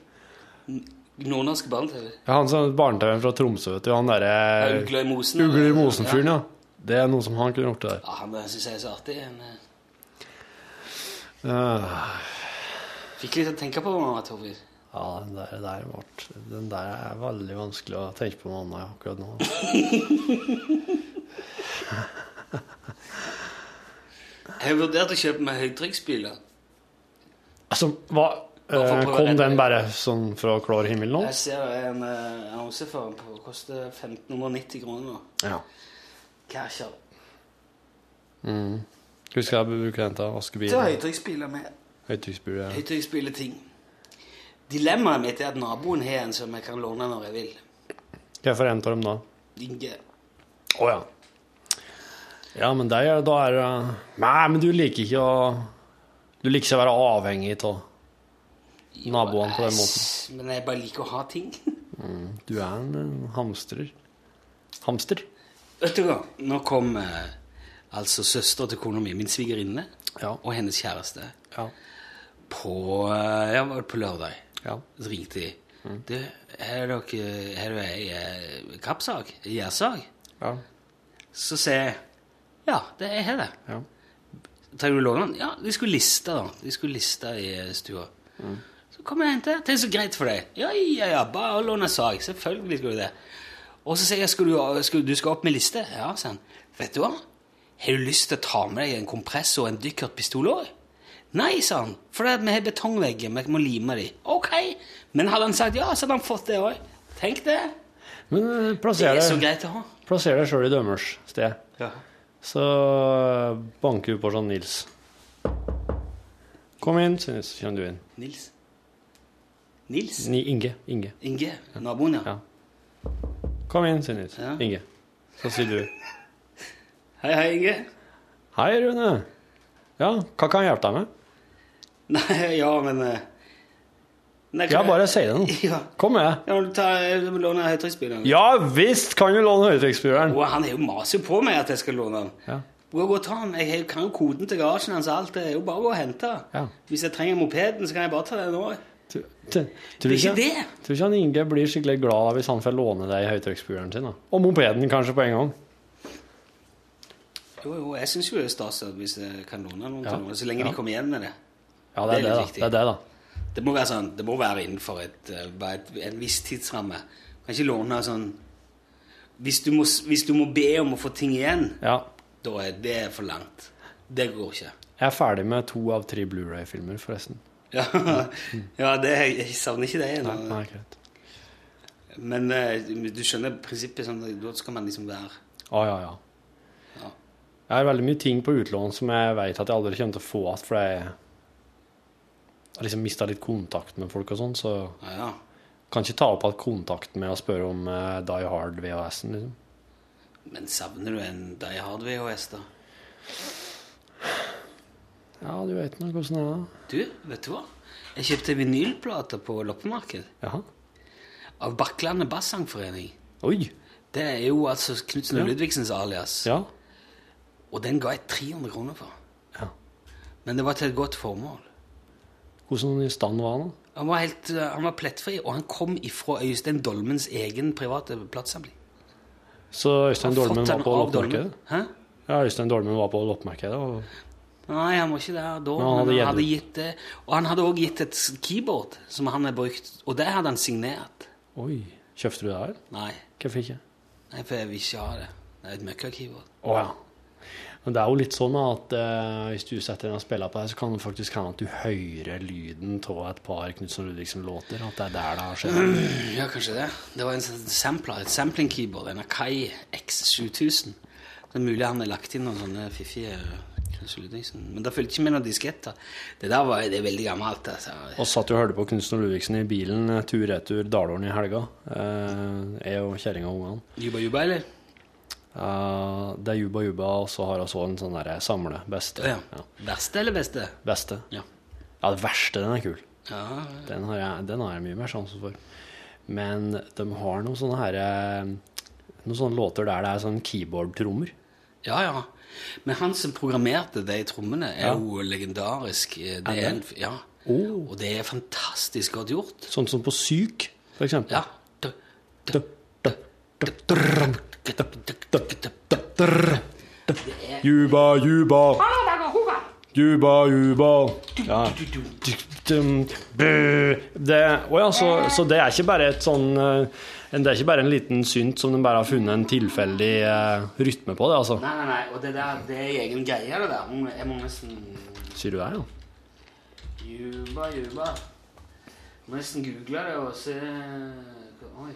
[SPEAKER 2] Nordnorske barne-TV.
[SPEAKER 1] Ja, Han som barne-TV-en fra Tromsø, vet du. Han derre
[SPEAKER 2] Ja, Ugla i mosen.
[SPEAKER 1] Ugler i mosen-fyren, ja. Det er noe som han kunne gjort det der.
[SPEAKER 2] Ja, han syns jeg er så artig. Han eh,
[SPEAKER 1] Ah,
[SPEAKER 2] fikk litt å tenke på, mamma Torfinn.
[SPEAKER 1] Ja, den der, der ble, den der er veldig vanskelig å tenke på noe annet akkurat nå.
[SPEAKER 2] Jeg har vurdert å kjøpe meg høytrykksspyler.
[SPEAKER 1] Altså, hva, eh, kom den bare sånn fra klar himmel nå?
[SPEAKER 2] Jeg ser det er en eh, annonse for den på koster 1590 kroner nå.
[SPEAKER 1] Ja.
[SPEAKER 2] Casher.
[SPEAKER 1] Mm. Husker jeg bruker den til å vaske
[SPEAKER 2] Til
[SPEAKER 1] bilen.
[SPEAKER 2] høytrykksspyler med
[SPEAKER 1] Høytrykksspyler. ja.
[SPEAKER 2] høytrykksspyleting. Dilemmaet mitt er at naboen har en som jeg kan låne når jeg vil.
[SPEAKER 1] Hva for en av dem da?
[SPEAKER 2] Inge.
[SPEAKER 1] Å ja. Ja, men det er, da er det Nei, men du liker ikke å Du liker ikke å være avhengig av naboene på den måten.
[SPEAKER 2] Men jeg bare liker å ha ting.
[SPEAKER 1] Mm. Du er en eh, hamstrer. Hamster.
[SPEAKER 2] Vet du hva? Nå kom eh, altså søster til kona mi, min svigerinne, og hennes kjæreste på, eh, ja, var det på lørdag. Så ringte de. Du, her er dere her er ei eh, kappsag? ei Gjærsag? Så sier jeg ja, det er her det. Tar du lånen? Ja, de skulle liste, da. De skulle liste i eh, stua. Så kom jeg og hente. Det er så greit for deg. Ja, ja, ja, bare lån en sag. Selvfølgelig skal du det. Og så sier jeg, skal du, skal, du skal opp med liste? Ja, sier han. Vet du hva? Har du lyst til å ta med deg en kompressor og en dykkertpistol òg? Nei, sa han, for det at vi har betongvegger, vi må lime de. Ok, men hadde han sagt ja, så hadde han fått det òg. Tenk det.
[SPEAKER 1] Men eh, plasser
[SPEAKER 2] Det er
[SPEAKER 1] deg-
[SPEAKER 2] så greit å ha.
[SPEAKER 1] Plasser deg sjøl i dømmers sted.
[SPEAKER 2] Ja.
[SPEAKER 1] Så banker du på sånn Nils. Kom inn, sier Nils. Kommer du inn.
[SPEAKER 2] Nils. Nils?
[SPEAKER 1] Ni, Inge. Inge.
[SPEAKER 2] Inge, naboen, ja.
[SPEAKER 1] Kom inn, sier Nils. Inge. Så sier du
[SPEAKER 2] Hei, hei, Inge.
[SPEAKER 1] Hei, Rune. Ja, hva kan jeg hjelpe deg med?
[SPEAKER 2] Nei, ja, men eh, nei,
[SPEAKER 1] Ja,
[SPEAKER 2] kan-
[SPEAKER 1] bare si det nå.
[SPEAKER 2] Ja.
[SPEAKER 1] Kom med.
[SPEAKER 2] Ja, du tar- du må låne høytrykksspilleren.
[SPEAKER 1] Ja visst kan du låne høytrykksspyleren.
[SPEAKER 2] Og han er jo maser jo på meg at jeg skal låne den.
[SPEAKER 1] Ja.
[SPEAKER 2] Gå og gå og ta den. Jeg har- kan jo koden til garasjen hans og alt. Det er jo bare å gå og hente.
[SPEAKER 1] Ja.
[SPEAKER 2] Hvis jeg trenger mopeden, så kan jeg bare ta den nå.
[SPEAKER 1] Tror
[SPEAKER 2] Det er ikke det.
[SPEAKER 1] Tror ikke han Inge blir skikkelig glad hvis han får låne deg høytrykksspyleren sin? da? Og mopeden kanskje på en gang.
[SPEAKER 2] Jo, jo, jeg syns jo det er stas at hvis jeg kan låne noen
[SPEAKER 1] Ja.
[SPEAKER 2] til noen, så lenge
[SPEAKER 1] Ja.
[SPEAKER 2] de kommer igjen med det.
[SPEAKER 1] Ja, det er det,
[SPEAKER 2] litt
[SPEAKER 1] da.
[SPEAKER 2] viktig.
[SPEAKER 1] Det er det, da.
[SPEAKER 2] Det må være sånn, det må være innenfor et, eh, bare et, en viss tidsramme. Du kan ikke låne sånn hvis du, må, s- hvis du må be om å få ting igjen,
[SPEAKER 1] Ja.
[SPEAKER 2] da er det for langt. Det går ikke.
[SPEAKER 1] Jeg er ferdig med to av tre Blu-ray-filmer, forresten.
[SPEAKER 2] Ja, ja det, jeg savner ikke det. Nei,
[SPEAKER 1] Mm. nei, greit.
[SPEAKER 2] Men eh, du skjønner prinsippet sånn, da skal man liksom være
[SPEAKER 1] Å, ja, ja. Jeg har veldig mye ting på utlån som jeg vet at jeg aldri kommer til å få igjen, for jeg har liksom mista litt kontakt med folk og sånn, så
[SPEAKER 2] ja.
[SPEAKER 1] kan ikke ta opp alt kontakten med å spørre om eh, Die Hard VHS-en, liksom.
[SPEAKER 2] Men savner du en Die Hard VHS, da?
[SPEAKER 1] Ja, du vet nå hvordan det er.
[SPEAKER 2] Du, vet du hva? Jeg kjøpte vinylplater på loppemarked.
[SPEAKER 1] Jaha.
[SPEAKER 2] Av Bakklandet Bassangforening.
[SPEAKER 1] Oi!
[SPEAKER 2] Det er jo altså Knutsen og
[SPEAKER 1] Ja.
[SPEAKER 2] Ludvigsens alias.
[SPEAKER 1] Ja.
[SPEAKER 2] Og den ga jeg 300 kroner for. Men det var til et godt formål.
[SPEAKER 1] Hvordan i stand var han? da?
[SPEAKER 2] Han var, helt, eh, han var plettfri, og han kom ifra Øystein Dolmens egen private platesamling.
[SPEAKER 1] Så Øystein
[SPEAKER 2] Han har
[SPEAKER 1] Dolmen
[SPEAKER 2] fått
[SPEAKER 1] var
[SPEAKER 2] den
[SPEAKER 1] på
[SPEAKER 2] av Dolmen.
[SPEAKER 1] loppemarkedet? Ja, Øystein Dolmen var på loppemarkedet og
[SPEAKER 2] Nei, han var ikke der da.
[SPEAKER 1] Men han
[SPEAKER 2] men
[SPEAKER 1] hadde gitt
[SPEAKER 2] han hadde
[SPEAKER 1] ut.
[SPEAKER 2] gitt det. Og han hadde også gitt et keyboard som han hadde brukt, og det hadde han signert.
[SPEAKER 1] Oi. Kjøpte du det her?
[SPEAKER 2] Nei,
[SPEAKER 1] Hvorfor ikke?
[SPEAKER 2] nei for jeg vil ikke ha det. Det er et møkka-keyboard.
[SPEAKER 1] Å ja. Men det er jo litt sånn at eh, hvis du setter en spiller på deg, så kan det faktisk hende at du hører lyden av et par Knutsen Ludvigsen-låter. At det er der det har skjedd.
[SPEAKER 2] Ja, kanskje det. Det var en sånn sampler, et sampling keyboard, en Akai X7000. Det er mulig han har lagt inn noen sånne fiffige Knut Ludvigsen. Men det fulgte ikke med noen disketter. Det der var, det er veldig gammelt. Altså.
[SPEAKER 1] Og satt jo og hørte på Knutsen Ludvigsen i bilen eh, tur-retur Dalåren i helga. Eh, jeg og kjerringa og ungene.
[SPEAKER 2] Juba Juba, eller?
[SPEAKER 1] Eh, det er Juba Juba, og så har vi så en sånn derre samle beste.
[SPEAKER 2] Ja. Verste eller beste?
[SPEAKER 1] Beste.
[SPEAKER 2] Ja.
[SPEAKER 1] ja, det verste, den er kul.
[SPEAKER 2] Ja,
[SPEAKER 1] Den har jeg, den har jeg mye mer sansen for. Men de har noen sånne her, eh, noen sånne låter der det er sånn keyboard-trommer.
[SPEAKER 2] ja. ja. Men han som programmerte de trommene, er
[SPEAKER 1] Ja.
[SPEAKER 2] jo legendarisk. eh, Det
[SPEAKER 1] Er det? Oh.
[SPEAKER 2] er en, ja. Og det er fantastisk godt gjort.
[SPEAKER 1] Sånn som på Syk, for eksempel.
[SPEAKER 2] Ja.
[SPEAKER 1] Juba, juba, juba, juba. Ja. Det, å ja, så, så det er ikke bare et sånn eh, Det er ikke bare en liten synt som de bare har funnet en tilfeldig eh, rytme på, det, altså.
[SPEAKER 2] Nei, nei, nei. Og det der, det er egen greie, det der. Hun- Jeg må nesten
[SPEAKER 1] Sier du det, ja?
[SPEAKER 2] Juba, juba. Må nesten google det og se Oi.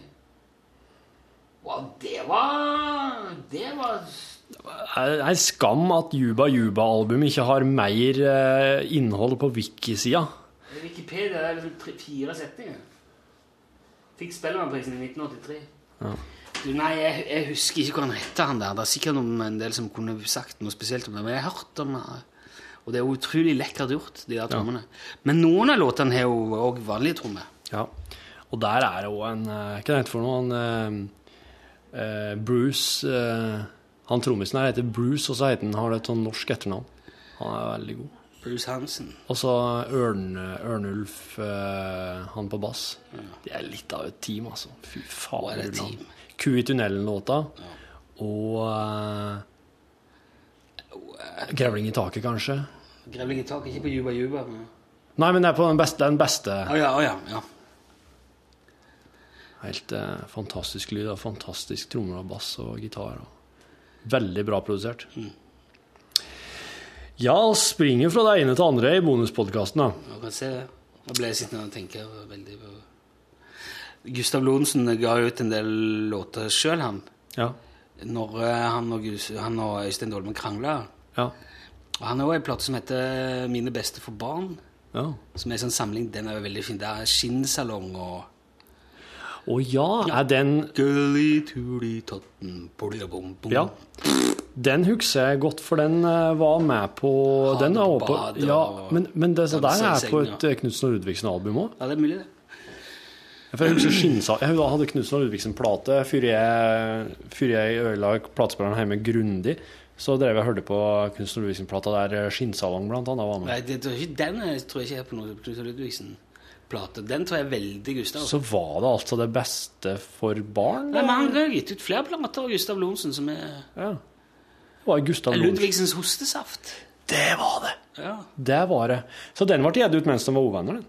[SPEAKER 2] Wow, det var Det var
[SPEAKER 1] Det er en skam at Juba Juba-albumet ikke har mer eh, innhold på wiki-sida.
[SPEAKER 2] Wikipedia det er liksom tre, fire setninger. Fikk Spellemannprisen i 1983.
[SPEAKER 1] Ja.
[SPEAKER 2] Du, nei, jeg, jeg husker ikke hva han heter, han der. Det er sikkert noen, en del som kunne sagt noe spesielt om det, men jeg har hørt om det. Og det er utrolig lekkert gjort, de der trommene. Men noen av låtene har jo òg vanlige trommer.
[SPEAKER 1] Ja. Og der er det òg en eh, Hva heter det for noe? Han, eh, eh, Bruce eh, Han trommisen her heter Bruce, og så heter han, har det et sånn norsk etternavn. Han er veldig god.
[SPEAKER 2] Bruce Hansen.
[SPEAKER 1] Og så Ørn, Ørnulf, eh, han på bass. Det er litt av et team, altså. Fy
[SPEAKER 2] Hva er
[SPEAKER 1] faen.
[SPEAKER 2] det
[SPEAKER 1] Ulland.
[SPEAKER 2] team?
[SPEAKER 1] Ku i tunnelen-låta. Og eh, Grevling i taket, kanskje.
[SPEAKER 2] Grevling i taket, ikke på Juba Juba. Men...
[SPEAKER 1] Nei, men det er på den beste. Den beste.
[SPEAKER 2] Å ja, å ja, ja.
[SPEAKER 1] Helt eh, fantastisk lyd og fantastisk trommer og bass og gitar. Og veldig bra produsert. Ja, vi springer fra det ene til det andre i bonuspodkasten, da.
[SPEAKER 2] Man kan se det. Nå ble jeg sittende og tenke veldig på Gustav Lorentzen ga ut en del låter sjøl, han.
[SPEAKER 1] Ja.
[SPEAKER 2] Når eh, han og, Gus, han og Øystein Dolmen krangla.
[SPEAKER 1] Ja.
[SPEAKER 2] Og han har òg en plate som heter 'Mine beste for barn'.
[SPEAKER 1] Ja.
[SPEAKER 2] Som er en sånn samling. Den er jo veldig fin. Det er skinnsalong og
[SPEAKER 1] Å ja, er den
[SPEAKER 2] Gulli-tuli-totten, bolli-bom-bom.
[SPEAKER 1] Ja. Den husker jeg godt, for den eh, var med på Den er
[SPEAKER 2] på
[SPEAKER 1] også på
[SPEAKER 2] badet
[SPEAKER 1] Ja,
[SPEAKER 2] og-
[SPEAKER 1] men, men det så
[SPEAKER 2] danse
[SPEAKER 1] der
[SPEAKER 2] i
[SPEAKER 1] er på
[SPEAKER 2] senga.
[SPEAKER 1] et eh, Knutsen og Ludvigsen-album òg.
[SPEAKER 2] Ja, det er mulig, det.
[SPEAKER 1] For jeg husker Skinnsal Jeg hadde Knutsen og Ludvigsen-plate før jeg, før jeg ødela platespilleren hjemme grundig. Så drev jeg og hørte på Knutsen og Ludvigsen-plata der Skinnsalong blant annet var med.
[SPEAKER 2] Nei, det, tror jeg ikke, den er- tror jeg ikke er på noe Knut Ludvigsen-plate. Den tror jeg er veldig Gustav.
[SPEAKER 1] Så var det altså det beste for barn?
[SPEAKER 2] Nei, men Han har gitt ut flere plater av Gustav Lorentzen, som er
[SPEAKER 1] Ja. Det var Gustav Lorentzen.
[SPEAKER 2] Ludvigsens hostesaft.
[SPEAKER 1] Det var det!
[SPEAKER 2] Ja.
[SPEAKER 1] Det var det. Så den ble gitt ut mens de var uvenner, den.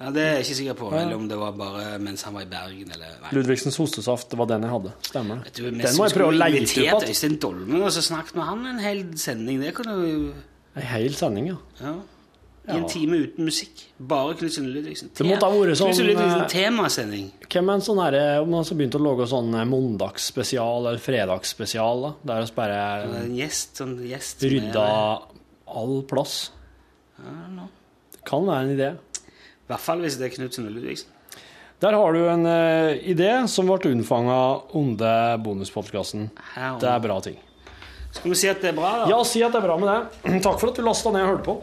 [SPEAKER 2] ja, Det er jeg ikke sikker på.
[SPEAKER 1] Ja.
[SPEAKER 2] Eller om det var bare mens han var i Bergen, eller nei.
[SPEAKER 1] Ludvigsens hostesaft var den jeg hadde. Stemmer det.
[SPEAKER 2] Du, vi
[SPEAKER 1] Den må jeg
[SPEAKER 2] skulle
[SPEAKER 1] prøve å leie ut
[SPEAKER 2] invitert
[SPEAKER 1] igjen.
[SPEAKER 2] Øystein Dolmen og så snakket med han en hel sending. Det kunne jo
[SPEAKER 1] En hel sending, ja.
[SPEAKER 2] ja. I en
[SPEAKER 1] Ja.
[SPEAKER 2] time uten musikk. Bare Knutsen Ludvigsen.
[SPEAKER 1] Det måtte ha vært sånn,
[SPEAKER 2] Knutsen
[SPEAKER 1] eh,
[SPEAKER 2] Ludvigsen temasending.
[SPEAKER 1] Hvem er en sånn her, om man så begynte å lage sånn mandagsspesial eller fredagsspesial, da, der oss bare
[SPEAKER 2] Det er En gjest, sånn gjest som
[SPEAKER 1] rydda
[SPEAKER 2] er-
[SPEAKER 1] all plass?
[SPEAKER 2] I don't know.
[SPEAKER 1] Det kan være en idé.
[SPEAKER 2] I hvert fall hvis det er Knutsen og Ludvigsen.
[SPEAKER 1] Der har du en eh, idé som ble unnfanga under bonuspodkasten.
[SPEAKER 2] Her
[SPEAKER 1] Det er bra ting.
[SPEAKER 2] Skal vi si at det er bra, da?
[SPEAKER 1] Ja, si at det er bra med det. Takk Sånn for at du lasta ned og hørte på.